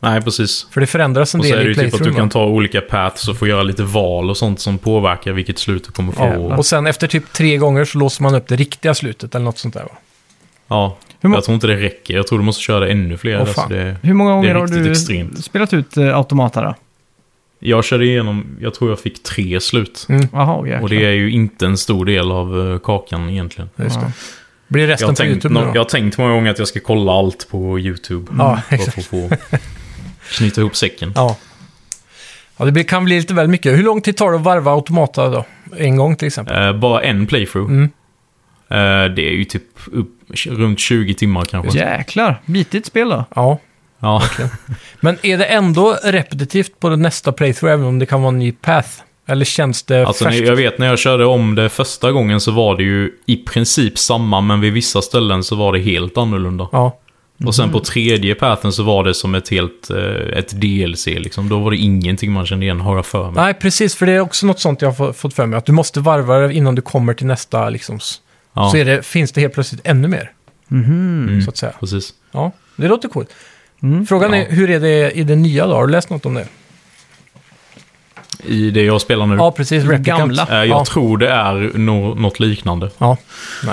Speaker 2: Nej, precis.
Speaker 1: För det förändras en
Speaker 2: Och så är det
Speaker 1: del
Speaker 2: ju
Speaker 1: i
Speaker 2: typ att du
Speaker 1: playthrough.
Speaker 2: kan ta olika paths och få göra lite val och sånt som påverkar vilket slut du kommer få.
Speaker 1: Ja,
Speaker 2: Ja,
Speaker 1: och sen efter typ tre gånger så låser man upp det riktiga slutet eller något sånt där va?
Speaker 3: Hur må-
Speaker 2: Jag tror inte det räcker. Jag tror du måste köra ännu fler.
Speaker 1: Åh,
Speaker 2: alltså,
Speaker 1: fan.
Speaker 2: det,
Speaker 3: Hur många gånger har
Speaker 2: riktigt
Speaker 3: du
Speaker 2: extremt.
Speaker 3: spelat ut eh, Automata då?
Speaker 2: Jag körde igenom, jag tror jag fick tre slut.
Speaker 1: Mm.
Speaker 3: Jaha, oh, jäklar.
Speaker 2: Och det är ju inte en stor del av eh, kakan egentligen.
Speaker 1: Just det. Blir
Speaker 2: Jag
Speaker 1: resten
Speaker 2: har,
Speaker 1: på
Speaker 2: tänkt,
Speaker 1: YouTube
Speaker 2: nå-
Speaker 1: nu
Speaker 2: jag
Speaker 1: då?
Speaker 2: har tänkt många gånger att jag ska kolla allt på YouTube. Mm.
Speaker 1: Ja,
Speaker 2: Bara för att få knyta ihop säcken.
Speaker 1: Ja. Ja, det blir, kan bli lite väl mycket. Hur lång tid tar det att varva automata då? En gång till exempel?
Speaker 2: Eh, bara en playthrough.
Speaker 1: Mm.
Speaker 2: Eh, det är ju typ upp, runt 20 timmar kanske.
Speaker 3: Jäklar, bitigt spel då.
Speaker 1: Ja.
Speaker 2: Ja.
Speaker 1: Men är det ändå repetitivt på den nästa playthrough, även om det kan vara en ny path? Eller känns det
Speaker 2: Alltså, när-
Speaker 1: färskt?
Speaker 2: jag vet när jag körde om det första gången så var det ju i princip samma, men vid vissa ställen så var det helt annorlunda.
Speaker 1: Ja.
Speaker 2: Och
Speaker 1: Mhm.
Speaker 2: sen på tredje pathen så var det som ett helt eh, ett DLC liksom. Då var det ingenting man kände igen, har jag för mig.
Speaker 1: Nej, precis. För det är också något sånt jag har få- fått för mig. Att du måste varva det innan du kommer till nästa. Liksom, s-
Speaker 2: Ja,
Speaker 1: Så är det, finns det helt plötsligt ännu mer. Så att säga.
Speaker 2: precis.
Speaker 1: Ja, det låter coolt. Frågan är, hur är det i det nya då? Har du läst något om det?
Speaker 2: I det jag spelar nu.
Speaker 1: Ja, precis. Replicant.
Speaker 3: gamla.
Speaker 2: Eh, jag
Speaker 1: Mm. ja.
Speaker 2: tror det är no något liknande.
Speaker 1: ja,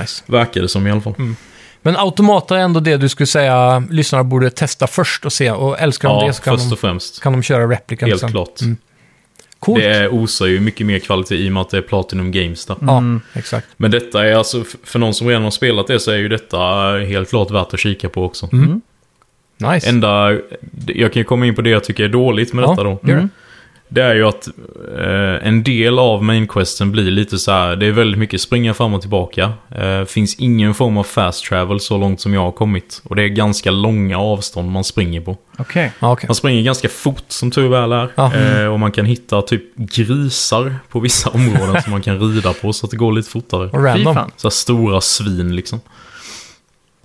Speaker 1: nice.
Speaker 2: Verkar det som i alla fall.
Speaker 1: Mm, Men automata är ändå det du skulle säga lyssnarna borde testa först och se. Och älskar de
Speaker 2: Ja,
Speaker 1: det så kan
Speaker 2: först
Speaker 1: de,
Speaker 2: och främst.
Speaker 1: kan liksom. Mm. de köra replikan
Speaker 2: Helt
Speaker 1: sen.
Speaker 2: klart.
Speaker 1: Coolt.
Speaker 2: Det osar ju mycket mer kvalitet i och med att det är Platinum Games där.
Speaker 1: Ja, exakt.
Speaker 2: Men detta är alltså, f- för någon som redan har spelat det så är ju detta helt klart värt att kika på också.
Speaker 1: Mm. Nice.
Speaker 2: Enda, jag kan ju komma in på det jag tycker är dåligt med
Speaker 1: Ja,
Speaker 2: detta då.
Speaker 1: gör det.
Speaker 2: Det är ju att eh, en del av mainquesten blir lite så här, det är väldigt mycket springa fram och tillbaka. Eh, finns ingen form av fast travel så långt som jag har kommit. Och det är ganska långa avstånd man springer på.
Speaker 3: Okej.
Speaker 1: Ja, okej.
Speaker 2: Man springer ganska fort som tur väl är.
Speaker 1: Ja.
Speaker 2: Eh, och man kan hitta typ grisar på vissa områden som man kan rida på så att det går lite fortare.
Speaker 1: Och
Speaker 3: Fy
Speaker 1: random.
Speaker 3: fan.
Speaker 2: Så här stora svin liksom.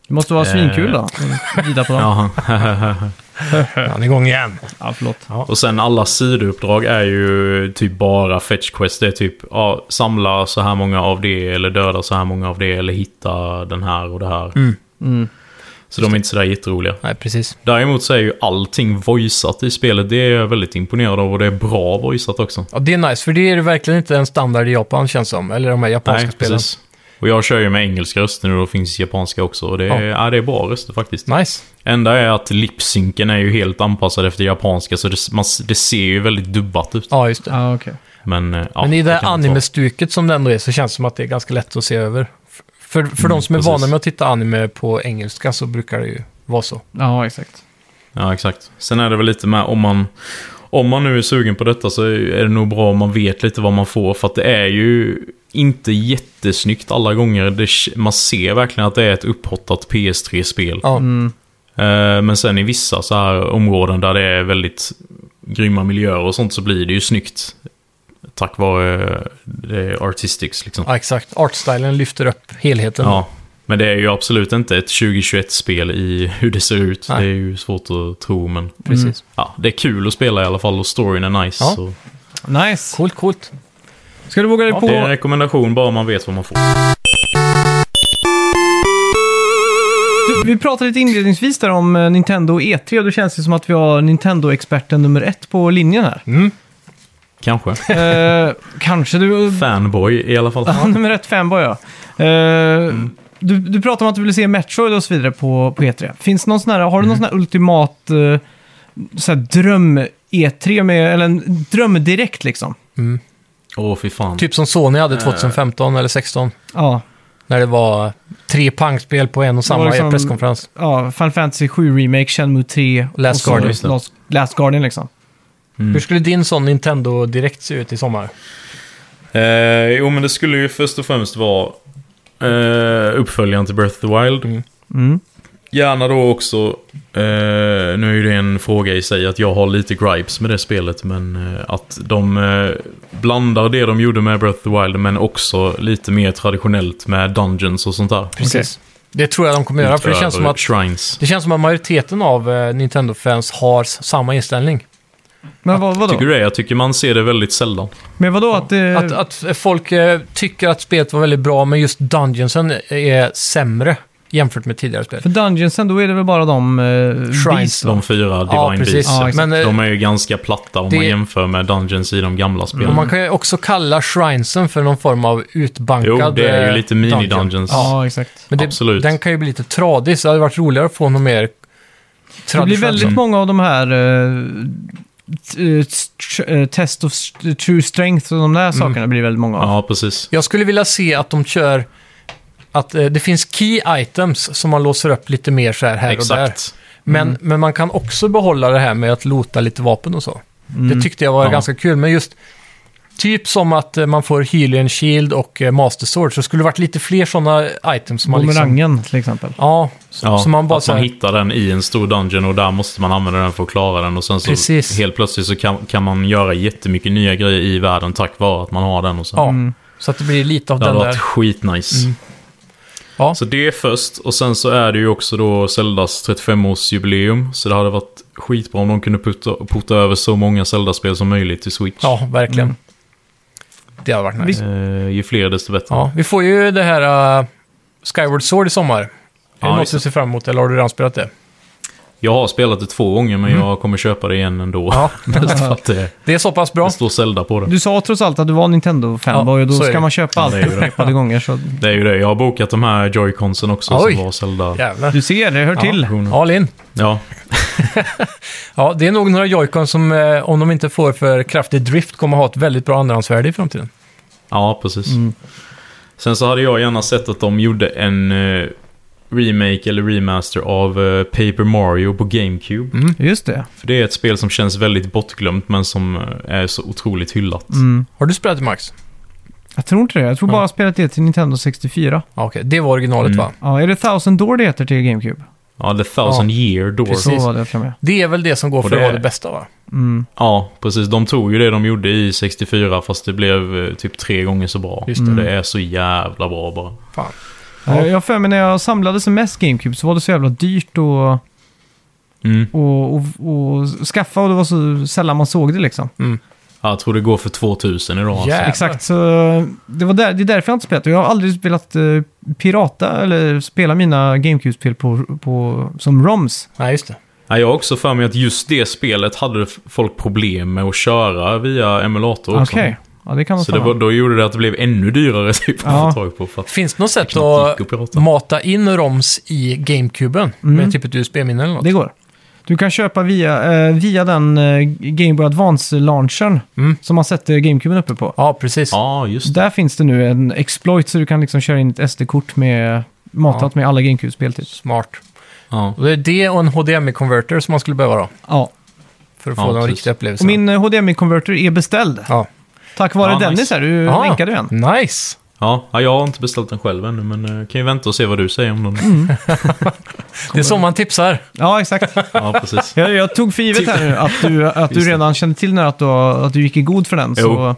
Speaker 3: Det måste vara
Speaker 2: Eh.
Speaker 3: svinkul då. Rida på dem. Ja.
Speaker 2: Ja.
Speaker 1: Han är igång igen.
Speaker 3: förlåt.
Speaker 2: Och sen alla sidouppdrag är ju typ bara fetch quest. Det är typ ja, samla så här många av det eller döda så här många av det eller hitta den här och det här. Så de är inte sådär jätteroliga.
Speaker 1: Nej, precis.
Speaker 2: Däremot så är ju allting voiceat i spelet. Det är jag väldigt imponerad av och det är bra voiceat också.
Speaker 1: Ja, det är nice, för det är det verkligen inte en standard i Japan känns som. Eller de här japanska spelen.
Speaker 2: Och jag kör ju med engelska röster nu och det finns japanska också. Och det är, ja. det är bra röster faktiskt.
Speaker 1: Nice.
Speaker 2: Enda är att lipsynken är ju helt anpassad efter japanska så det, man, det ser ju väldigt dubbat ut.
Speaker 1: Ja, just det.
Speaker 3: Ja, okej.
Speaker 2: Men, eh, ja,
Speaker 1: Men i det här
Speaker 2: kan inte vara-
Speaker 1: anime-stuket som det ändå är så känns det som att det är ganska lätt att se över. F- För, för de som är
Speaker 2: precis.
Speaker 1: vana med att titta anime på engelska så brukar det ju vara så.
Speaker 3: Ja, exakt.
Speaker 2: Ja, exakt. Sen är det väl lite med om man... Om man nu är sugen på detta så är det nog bra om man vet lite vad man får. För att det är ju inte jättesnyggt alla gånger. Det, man ser verkligen att det är ett upphottat PS3-spel.
Speaker 1: Ja,
Speaker 2: Eh, Men sen i vissa så här områden där det är väldigt grymma miljöer och sånt så blir det ju snyggt. Tack vare eh, det artistics liksom.
Speaker 1: ja exakt. Artstylen lyfter upp helheten. Mm.
Speaker 2: Ja. Men det är ju absolut inte ett 2021-spel i hur det ser ut.
Speaker 1: Nej.
Speaker 2: Det är ju svårt att tro men...
Speaker 1: Precis.
Speaker 2: Ja, det är kul att spela i alla fall och storyn är nice.
Speaker 1: Ja.
Speaker 2: Så
Speaker 3: Nice.
Speaker 1: Coolt, coolt.
Speaker 3: Ska du våga dig på...
Speaker 2: det är en rekommendation bara om man vet vad man får.
Speaker 3: Du, vi pratade lite inledningsvis där om eh, Nintendo och E3 och det känns ju som att vi har Nintendo-experten nummer ett på linjen här.
Speaker 2: Kanske.
Speaker 3: Eh, kanske du...
Speaker 2: Fanboy i alla fall.
Speaker 3: Ja, nummer ett fanboy ja. Eh, du, du pratade om att du ville se Metroid och så vidare på, på E3. Finns det någon sån här, har du någon sån här ultimat eh, så här dröm E3 med, eller en dröm direkt liksom?
Speaker 2: Åh, fy fan.
Speaker 1: Typ som Sony hade 2015 eller 16
Speaker 3: Ja,
Speaker 1: När det var tre pangspel på en och samma
Speaker 3: liksom-
Speaker 1: presskonferens.
Speaker 3: ja Final Fantasy 7 Remake, Shenmue 3 och
Speaker 1: Last
Speaker 3: så-
Speaker 1: Guardian,
Speaker 2: just det.
Speaker 3: Last, Last Guardian liksom.
Speaker 1: Hur skulle din sån Nintendo direkt se ut i sommar?
Speaker 2: Eh, jo, men det skulle ju först och främst vara eh, uppföljaren till Breath of the Wild.
Speaker 3: Mm.
Speaker 2: Gärna då också, eh, nu är ju det en fråga i sig att jag har lite gripes med det spelet, men eh, att de eh, blandar det de gjorde med Breath of the Wild, men också lite mer traditionellt med dungeons och sånt där.
Speaker 1: Det tror jag de kommer göra, för det
Speaker 2: Utöver
Speaker 1: känns som att,
Speaker 2: Shrines.
Speaker 1: det känns som att majoriteten av eh, Nintendo-fans har s- samma inställning.
Speaker 3: Men vad, vadå?
Speaker 2: Tycker du det? Jag tycker man ser det väldigt sällan.
Speaker 3: Men vadå att, eh,
Speaker 1: Att, att folk eh, tycker att spelet var väldigt bra, men just Dungeonsen är sämre jämfört med tidigare spel.
Speaker 3: För Dungeonsen, då är det väl bara de... Eh,
Speaker 1: Shrines.
Speaker 3: beast,
Speaker 2: De fyra Divine
Speaker 1: Ja, precis.
Speaker 2: Beasts.
Speaker 3: Ja, exakt.
Speaker 1: men, eh,
Speaker 2: De är ju ganska platta om
Speaker 1: Det-
Speaker 2: man jämför med Dungeons i de gamla
Speaker 3: Mm.
Speaker 2: spelen.
Speaker 1: Och man kan ju också kalla shrinesen för någon form av utbankad
Speaker 2: Jo, det är ju
Speaker 1: eh,
Speaker 2: lite
Speaker 1: dungeon.
Speaker 2: mini-dungeons.
Speaker 3: Ja, exakt.
Speaker 1: Men det,
Speaker 2: Absolut.
Speaker 1: den kan ju bli lite tradig, så det hade varit roligare att få något mer
Speaker 3: Det blir
Speaker 1: traditionellt.
Speaker 3: väldigt många av de här eh, eh, tr- eh, Test of st- True Strength och de
Speaker 1: Mm.
Speaker 3: där sakerna blir väldigt många av.
Speaker 2: Ja, precis.
Speaker 1: Jag skulle vilja se att de kör att eh, det finns key items som man låser upp lite mer så här, här och där.
Speaker 2: Exakt.
Speaker 1: Men, men man kan också behålla det här med att lota lite vapen och så. Det tyckte jag var
Speaker 2: Ja.
Speaker 1: ganska kul, men just typ som att eh, man får Hylian Shield och eh, Master Sword, så skulle det varit lite fler sådana items som man liksom...
Speaker 3: Bumerangen till exempel.
Speaker 1: Ja, så,
Speaker 2: Ja,
Speaker 1: så man bara
Speaker 2: att
Speaker 1: så
Speaker 2: man
Speaker 1: här,
Speaker 2: hittar den i en stor dungeon och där måste man använda den för att klara den. Och sen så
Speaker 1: Precis.
Speaker 2: helt plötsligt så kan, kan man göra jättemycket nya grejer i världen tack vare att man har den. Och så.
Speaker 1: Ja, så att det blir lite av
Speaker 2: det
Speaker 1: den
Speaker 2: hade
Speaker 1: där. Mm.
Speaker 2: varit skitnice.
Speaker 1: Ja.
Speaker 2: Så det är först och sen så är det ju också då Zeldas 35-årsjubileum. Så det hade varit skitbra om de kunde putta, putta över så många Zelda-spel som möjligt till Switch.
Speaker 1: Ja, verkligen. Det hade varit nice.
Speaker 2: Eh, ju fler desto bättre.
Speaker 1: Ja, vi får ju det här eh, Skyward Sword i sommar. Är
Speaker 2: Ja,
Speaker 1: det något
Speaker 2: just
Speaker 1: du ser fram emot eller har du redan spelat det?
Speaker 2: Jag har spelat det två gånger men jag kommer köpa det igen ändå.
Speaker 1: Mm. Ja.
Speaker 2: Mest för att det,
Speaker 1: Det är så pass bra.
Speaker 2: det står Zelda på det.
Speaker 3: Du sa trots allt att du var Nintendo-fanboy
Speaker 1: Ja,
Speaker 3: och då
Speaker 1: så är
Speaker 3: ska
Speaker 1: det.
Speaker 3: man köpa allt
Speaker 2: det är ju det.
Speaker 3: upprepade gånger. Så
Speaker 2: Det är ju det. Jag har bokat de här joyconsen också
Speaker 1: Oj.
Speaker 2: som var Zelda.
Speaker 1: Jävlar.
Speaker 3: du ser, det hör till.
Speaker 2: versioner.
Speaker 1: Ja, Linn.
Speaker 2: Ja,
Speaker 1: Ja, det är nog några joycon som, eh, om de inte får för kraftig drift, kommer ha ett väldigt bra andrahandsvärde i framtiden.
Speaker 2: ja precis.
Speaker 1: Mm.
Speaker 2: Sen så hade jag gärna sett att de gjorde en eh, remake eller remaster av eh, Paper Mario på
Speaker 1: Mm.
Speaker 2: GameCube.
Speaker 3: Just det.
Speaker 2: För det är ett spel som känns väldigt bortglömt men som eh, är så otroligt hyllat.
Speaker 1: Har du spelat det Max?
Speaker 3: Mm. Jag tror inte det. Jag tror bara jag har spelat det till Nintendo 64.
Speaker 1: Ja, okej. Det var originalet
Speaker 2: Mm.
Speaker 1: va?
Speaker 3: Ja, är det Thousand Door det heter till GameCube?
Speaker 2: Ja, The Thousand Year Door.
Speaker 1: Precis.
Speaker 3: Så var det jag tror jag med.
Speaker 1: Det är väl det som går för
Speaker 2: det
Speaker 1: att vara
Speaker 2: är-
Speaker 1: det bästa va?
Speaker 3: Mm.
Speaker 2: Ja, precis. De tog ju det de gjorde i 64 fast det blev eh, typ tre gånger så bra.
Speaker 1: Just det.
Speaker 2: Och Det är så jävla bra bara.
Speaker 1: Fan.
Speaker 3: Ja. Jag har för mig när jag samlade som mest GameCube så var det så jävla dyrt och...
Speaker 2: Mm.
Speaker 3: och, och, och skaffa och det var så sällan man såg det liksom.
Speaker 2: Jag tror det går för 2000 idag. alltså.
Speaker 1: Jävlar.
Speaker 3: Exakt, så det, var där, det är därför jag inte spelat. Och Jag har aldrig spelat eh, pirata eller spela mina GameCube-spel på, på, som ROMs.
Speaker 1: Nej, just det.
Speaker 2: Ja, jag har också för mig att just det spelet hade f- folk problem med att köra via emulator också.
Speaker 3: Okej, ja det kan man
Speaker 2: Så det
Speaker 3: säga.
Speaker 2: var, då gjorde det att det blev ännu dyrare typ,
Speaker 3: Ja.
Speaker 2: att få tag på. För att
Speaker 1: Finns det något sätt
Speaker 2: Teknik och
Speaker 1: att
Speaker 2: pirata.
Speaker 1: mata in ROMs i GameCuben?
Speaker 3: Mm.
Speaker 1: Med typ ett USB-minne eller något?
Speaker 3: Det går. Du kan köpa via, eh, via den eh, Game Boy Advance-launchern
Speaker 1: Mm.
Speaker 3: som man sätter GameCuben uppe på.
Speaker 1: Ja, precis.
Speaker 2: ja, just det.
Speaker 3: Där finns det nu en exploit så du kan liksom köra in ett SD-kort med matat med alla GameCube-spel typ.
Speaker 1: Smart.
Speaker 2: Ja.
Speaker 1: Och det är det och en HDMI-converter som man skulle behöva då.
Speaker 3: Ja.
Speaker 1: För att få
Speaker 2: Ja,
Speaker 1: den
Speaker 2: precis.
Speaker 1: riktiga upplevelsen.
Speaker 3: Och min eh, HDMI-converter är beställd.
Speaker 1: Ja.
Speaker 3: Tack vare
Speaker 2: Ja, nice.
Speaker 3: Dennis här, du
Speaker 1: Ja.
Speaker 3: länkade ju en.
Speaker 1: Nice!
Speaker 2: Ja. ja, jag har inte beställt den själv ännu, men eh, kan ju vänta och se vad du säger om den.
Speaker 3: Mm.
Speaker 1: Det är så man tipsar.
Speaker 3: Ja, exakt.
Speaker 2: Ja, precis.
Speaker 3: Jag, jag tog för givet här nu att du, att du
Speaker 2: Just det.
Speaker 3: redan kände till när att du, att du gick i god för den. Så,
Speaker 2: Jo.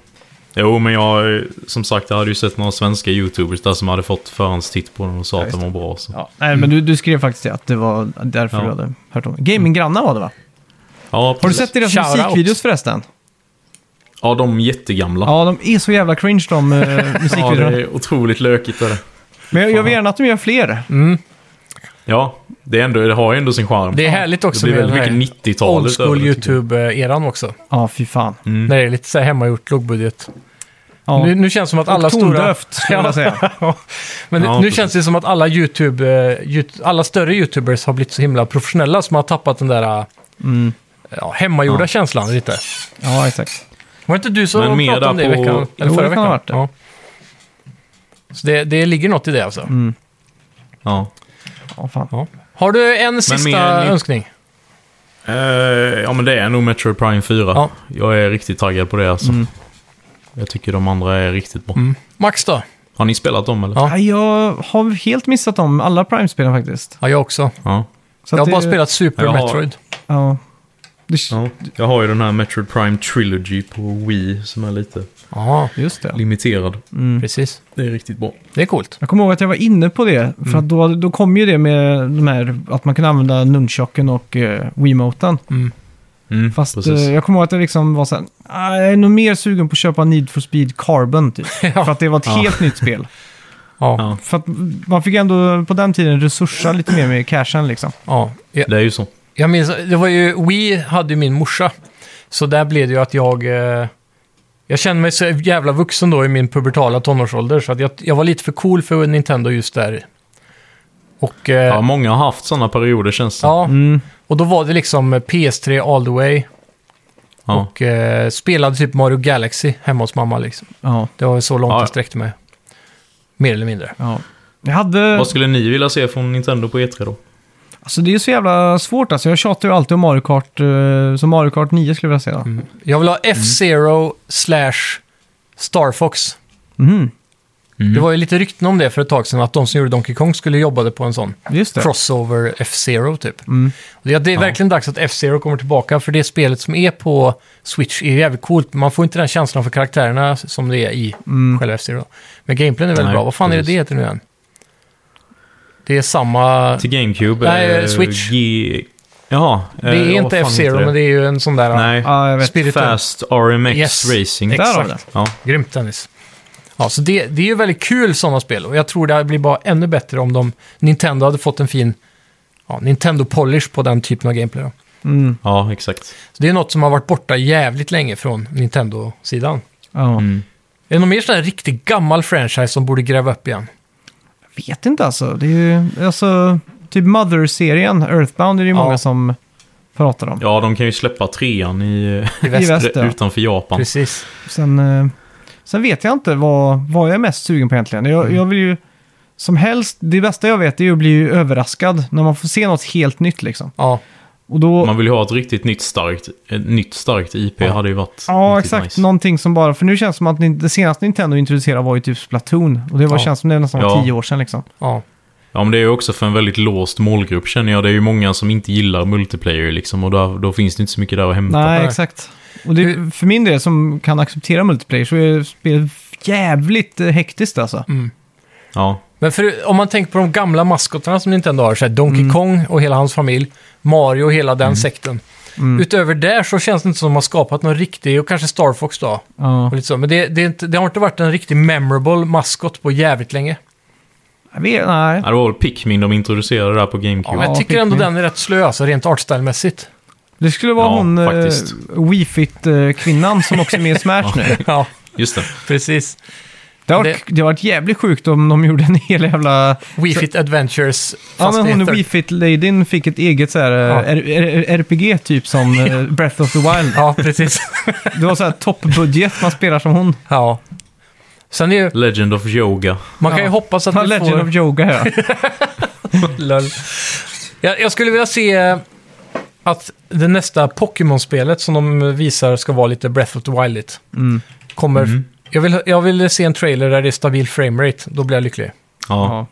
Speaker 2: Jo, men jag, eh, som sagt, jag hade ju sett några svenska YouTubers där som hade fått förhandstitt på den och sa att den var bra. Så.
Speaker 3: ja. Nej, men du, du skrev faktiskt det, att det var därför
Speaker 2: Ja.
Speaker 3: du hade hört om det. Gaminggrannar var det va?
Speaker 2: Ja,
Speaker 3: Har du
Speaker 2: precis.
Speaker 3: sett deras
Speaker 1: Shout out.
Speaker 3: musikvideos förresten?
Speaker 2: Ja, de är jättegamla.
Speaker 3: Ja, de är så jävla cringe de eh,
Speaker 2: Ja, det
Speaker 3: musikvideorna.
Speaker 2: är otroligt lökigt. Är det.
Speaker 3: Men jag, jag vill gärna att de gör fler.
Speaker 2: Mm. Ja, det, är ändå, det har ju ändå sin charm.
Speaker 1: Det är härligt också
Speaker 2: Det blir
Speaker 1: med
Speaker 2: väldigt
Speaker 1: den här
Speaker 2: mycket 90-talet.
Speaker 1: Old
Speaker 2: över
Speaker 1: school
Speaker 2: det, tycker jag.
Speaker 1: YouTube-eran också.
Speaker 3: Ja, fy fan.
Speaker 2: Mm.
Speaker 1: När det är lite så här hemmagjort lågbudget.
Speaker 3: Ja.
Speaker 1: Nu, nu känns det som att alla
Speaker 3: Alla och
Speaker 1: stora...
Speaker 3: tondövt, skulle jag vilja säga.
Speaker 1: Men
Speaker 2: Ja,
Speaker 1: nu
Speaker 2: precis.
Speaker 1: känns det som att alla, YouTube, eh, Yout- alla större YouTubers har blivit så himla professionella som har tappat den där eh,
Speaker 3: Mm.
Speaker 1: ja, hemmagjorda känslan lite.
Speaker 3: Ja, exakt.
Speaker 1: Var det inte du som
Speaker 2: Men mer
Speaker 1: pratade om det i
Speaker 2: där på-
Speaker 1: veckan? Eller
Speaker 3: Jo,
Speaker 1: förra
Speaker 3: det kan
Speaker 1: veckan?
Speaker 3: ha varit det.
Speaker 1: Ja. Så det, det ligger något i det alltså.
Speaker 3: Mm.
Speaker 2: Ja.
Speaker 3: Ja, fan.
Speaker 1: Ja. Har du en
Speaker 2: mer
Speaker 1: sista
Speaker 2: än-
Speaker 1: önskning?
Speaker 2: Eh, ja men det är nog Metro Prime 4.
Speaker 1: Ja. Mm.
Speaker 2: Jag är riktigt taggad på det alltså. Jag tycker de andra är riktigt bra.
Speaker 1: Max då?
Speaker 2: Har ni spelat dem eller?
Speaker 1: Mm. Ja.
Speaker 3: Ja, jag har helt missat dem, alla Prime-spelen faktiskt.
Speaker 1: Ja, jag också.
Speaker 2: Ja.
Speaker 3: Så
Speaker 1: jag
Speaker 3: att
Speaker 1: har bara
Speaker 3: det-
Speaker 1: spelat Super
Speaker 2: Jag har-
Speaker 1: Metroid.
Speaker 3: Ja. Det,
Speaker 2: Ja. Jag har ju den här Metro Prime Trilogy på Wii som är lite
Speaker 1: Ja,
Speaker 3: Just det.
Speaker 2: limiterad.
Speaker 1: precis.
Speaker 2: Det är riktigt bra.
Speaker 1: Det är coolt.
Speaker 3: Jag kommer ihåg att jag var inne på det, för att då, då kom ju det med de här, att man kunde använda nunchocken och eh, Wiimoten.
Speaker 2: Mm,
Speaker 3: Fast
Speaker 2: precis.
Speaker 3: eh, jag kommer ihåg att jag liksom var såhär, "Ah, jag är nog mer sugen på att köpa Need for Speed Carbon typ. För att det var ett helt nytt spel.
Speaker 1: Ja, ja.
Speaker 2: Ja.
Speaker 3: För att man fick ändå på den tiden resursa lite mer med cashen liksom.
Speaker 1: Jag,
Speaker 2: Det är ju så.
Speaker 1: jag minns, det var ju, Wii hade ju min morsa. Så där blev det ju att jag... Eh, jag kände mig så jävla vuxen då i min pubertala tonårsålder. Så att jag, jag var lite för cool för Nintendo just där. Och... Eh,
Speaker 2: Ja,
Speaker 1: ja.
Speaker 2: många har
Speaker 3: Mm.
Speaker 2: haft sådana perioder känns det.
Speaker 1: och då var det liksom eh, PS3 all the way.
Speaker 2: Ja.
Speaker 1: Och eh, spelade typ Mario Galaxy hemma hos mamma liksom.
Speaker 3: Ja.
Speaker 1: Det var så långt
Speaker 2: Ja.
Speaker 1: jag sträckte mig. Mer eller mindre.
Speaker 3: ja. Jag hade...
Speaker 2: Vad skulle ni vilja se från Nintendo på E3 då?
Speaker 3: Alltså det är så jävla svårt alltså. Jag tjatar ju alltid om Mario Kart, eh, så Mario Kart 9 skulle jag vilja se då. Mm.
Speaker 1: Jag vill ha F-Zero slash Star Fox.
Speaker 3: Mhm.
Speaker 2: Mm.
Speaker 1: Det var ju lite rykten om det för ett tag sedan, att de som gjorde Donkey Kong skulle jobba på en sån
Speaker 3: Just det.
Speaker 1: crossover F-Zero typ.
Speaker 3: Mm.
Speaker 1: Och Det, det är verkligen dags att F-Zero kommer tillbaka, för det spelet som är på Switch är jävligt coolt. men Man får inte den känslan för karaktärerna som det är i
Speaker 3: Mm.
Speaker 1: själva F-Zero. Men gameplayen är väldigt
Speaker 2: Nej,
Speaker 1: bra. Vad fan är det
Speaker 2: precis.
Speaker 1: det heter nu igen? Det är samma...
Speaker 2: Till GameCube?
Speaker 1: Nej,
Speaker 2: eh,
Speaker 1: Switch.
Speaker 2: G... Jaha. eh,
Speaker 1: Det är inte F-Zero, men det är ju en sån där...
Speaker 2: Nej.
Speaker 3: Ja, jag vet.
Speaker 1: Spiritual.
Speaker 2: Fast RMX
Speaker 1: Yes.
Speaker 2: Racing.
Speaker 3: Där har vi
Speaker 1: Exakt.
Speaker 2: Ja.
Speaker 1: Grymt tennis. Ja, så det, det är ju väldigt kul sådana spel och jag tror det här blir bara ännu bättre om de, Nintendo hade fått en fin ja, Nintendo-polish på den typen av gameplay. Då.
Speaker 3: Mm.
Speaker 2: ja, exakt.
Speaker 1: Så det är något som har varit borta jävligt länge från Nintendo-sidan.
Speaker 3: Ja.
Speaker 1: Är det någon mer sån här riktigt gammal franchise som borde gräva upp igen?
Speaker 3: Jag vet inte alltså. Det är ju, alltså, typ Mother-serien, Earthbound, är det ju
Speaker 1: Ja.
Speaker 3: många som pratar om.
Speaker 2: Ja, de kan ju släppa trean i, eh,
Speaker 1: I
Speaker 3: väst.
Speaker 1: väst?
Speaker 3: Just det.
Speaker 2: utanför Japan.
Speaker 1: Precis.
Speaker 3: Sen, eh, sen vet jag inte vad, vad jag är mest sugen på egentligen. Jag,
Speaker 2: Mm.
Speaker 3: jag vill ju, som helst, det bästa jag vet är ju att bli överraskad när man får se något helt nytt liksom.
Speaker 1: Ja,
Speaker 3: Och då,
Speaker 2: Man vill ju ha ett riktigt nytt starkt, ett nytt starkt IP
Speaker 1: Ja.
Speaker 2: hade ju varit
Speaker 3: Ja,
Speaker 2: riktigt
Speaker 3: exakt.
Speaker 2: nice.
Speaker 3: Någonting som bara... För nu känns det som att ni- det senaste Nintendo introducerade var ju typ Splatoon. Och det var,
Speaker 1: Ja.
Speaker 3: känns som det är nästan var
Speaker 2: Ja. Mm.
Speaker 3: tio år sedan liksom.
Speaker 1: ja.
Speaker 2: Ja, men det är ju också för en väldigt låst målgrupp känner jag. Det är ju många som inte gillar multiplayer liksom och då, då finns det inte så mycket där att hämta.
Speaker 3: Nej,
Speaker 1: Nej.
Speaker 3: exakt. Och det, för min del som kan acceptera multiplayer så är spelet jävligt eh, hektiskt alltså.
Speaker 2: Mm. Ja,
Speaker 1: Men för, om man tänker på de gamla maskotarna som Nintendo har, så här Donkey Kong och hela hans familj, Mario och hela den sekten. Utöver där så känns det inte som att de har skapat någon riktig, och kanske Star Fox då,
Speaker 3: Ja.
Speaker 1: Och lite så. Men det, det, är inte, det har inte varit en riktigt memorable maskot på jävligt länge.
Speaker 3: Jag vet, nej.
Speaker 2: Ja, det var väl Pikmin de introducerade där på GameCube.
Speaker 1: men jag
Speaker 3: Ja,
Speaker 1: tycker ändå
Speaker 3: Pikmin.
Speaker 1: den är rätt slö, alltså rent artstylemässigt.
Speaker 3: Det skulle vara
Speaker 2: Ja,
Speaker 3: hon
Speaker 2: faktiskt.
Speaker 3: uh, Wii-Fit-kvinnan som också är med i Smash nu.
Speaker 1: Ja,
Speaker 2: Just det.
Speaker 1: precis.
Speaker 3: Det har varit, det har varit jävligt sjukt om de gjorde en hel jävla...
Speaker 1: Wii Fit Adventures.
Speaker 3: Ja,
Speaker 1: fast
Speaker 3: men
Speaker 1: det
Speaker 3: hon
Speaker 1: heter-
Speaker 3: Wii-Fit-ladyn fick ett eget så här, eh,
Speaker 1: Ja.
Speaker 3: R- R- RPG typ som eh, Breath of the Wild.
Speaker 1: Ja, precis.
Speaker 3: Det var så här toppbudget, man spelar som hon.
Speaker 1: ja. Sen är ju,
Speaker 2: Legend of Yoga.
Speaker 1: man kan ju
Speaker 3: Ja.
Speaker 1: hoppas att
Speaker 3: Ta
Speaker 1: vi
Speaker 3: Legend
Speaker 1: får...
Speaker 3: of Yoga här.
Speaker 1: Lol. Jag, jag skulle vilja se eh, att det nästa Pokémon-spelet som de visar ska vara lite Breath of the Wild
Speaker 3: Mm.
Speaker 1: kommer... Jag, vill, jag vill se en trailer där det är stabil framerate. Då blir jag lycklig.
Speaker 2: Ja.
Speaker 3: Ja.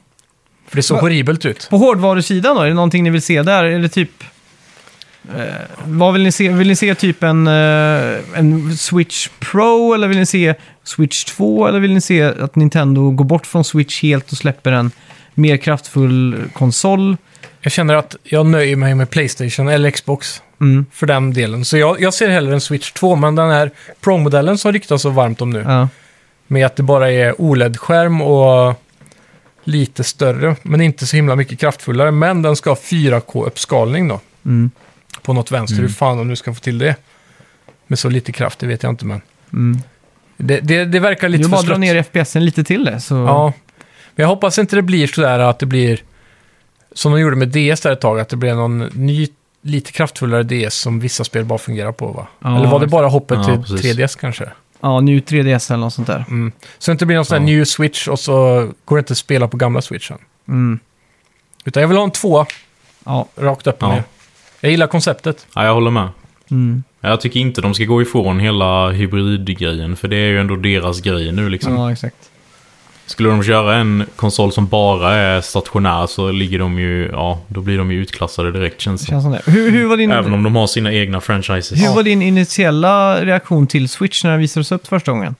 Speaker 1: För det såg
Speaker 3: Va-
Speaker 1: horribelt ut.
Speaker 3: På hårdvarusidan då, är det någonting ni vill se där? Är det typ... Eh, vad vill ni se? Vill ni se typ en, eh, en Switch Pro eller vill ni se Switch 2? Eller vill ni se att Nintendo går bort från Switch helt och släpper en mer kraftfull konsol?
Speaker 1: Jag känner att jag nöjer mig med Playstation eller Xbox
Speaker 3: Mm.
Speaker 1: för den delen. Så jag, jag ser hellre en Switch 2, men den här Pro-modellen som ryktas så varmt om nu,
Speaker 3: Ja.
Speaker 1: med att det bara är OLED-skärm och lite större, men inte så himla mycket kraftfullare. Men den ska ha 4K-uppskalning då,
Speaker 3: Mm.
Speaker 1: på något vänster. Hur fan de nu ska få till det? Med så lite kraft, det vet jag inte, men
Speaker 3: Mm.
Speaker 1: det, det, det
Speaker 3: Det
Speaker 1: verkar lite
Speaker 3: är bara
Speaker 1: för
Speaker 3: att dra
Speaker 1: slött.
Speaker 3: ner FPSen lite till det. Så...
Speaker 1: Ja, men jag hoppas inte det blir sådär att det blir som de gjorde med DS där ett tag, att det blir någon ny, lite kraftfullare DS som vissa spel bara fungerar på va?
Speaker 3: Ja,
Speaker 1: eller var det bara hoppet
Speaker 2: Ja,
Speaker 1: till
Speaker 2: precis.
Speaker 1: 3DS kanske?
Speaker 3: ja, nu 3DS eller något sånt där.
Speaker 1: Mm. Så det inte blir någon sån här
Speaker 2: Ja.
Speaker 1: new switch och så går det inte att spela på gamla switchen.
Speaker 3: Mm.
Speaker 1: Utan jag vill ha en tvåa
Speaker 3: Ja.
Speaker 1: rakt upp och
Speaker 2: Ja.
Speaker 1: ner. Jag gillar konceptet.
Speaker 2: ja, jag håller med.
Speaker 3: Mm.
Speaker 2: Jag tycker inte de ska gå ifrån hela hybridgrejen, för det är ju ändå deras grej nu liksom.
Speaker 3: ja, exakt.
Speaker 2: Skulle de köra en konsol som bara är stationär så ligger de ju, ja, då blir de ju utklassade direkt känns
Speaker 3: Det
Speaker 2: det
Speaker 3: känns som det. Hur, hur var din...
Speaker 2: Även om de har sina egna franchises.
Speaker 3: Hur
Speaker 2: Ja.
Speaker 3: var din initiala reaktion till Switch när den visades upp första gången?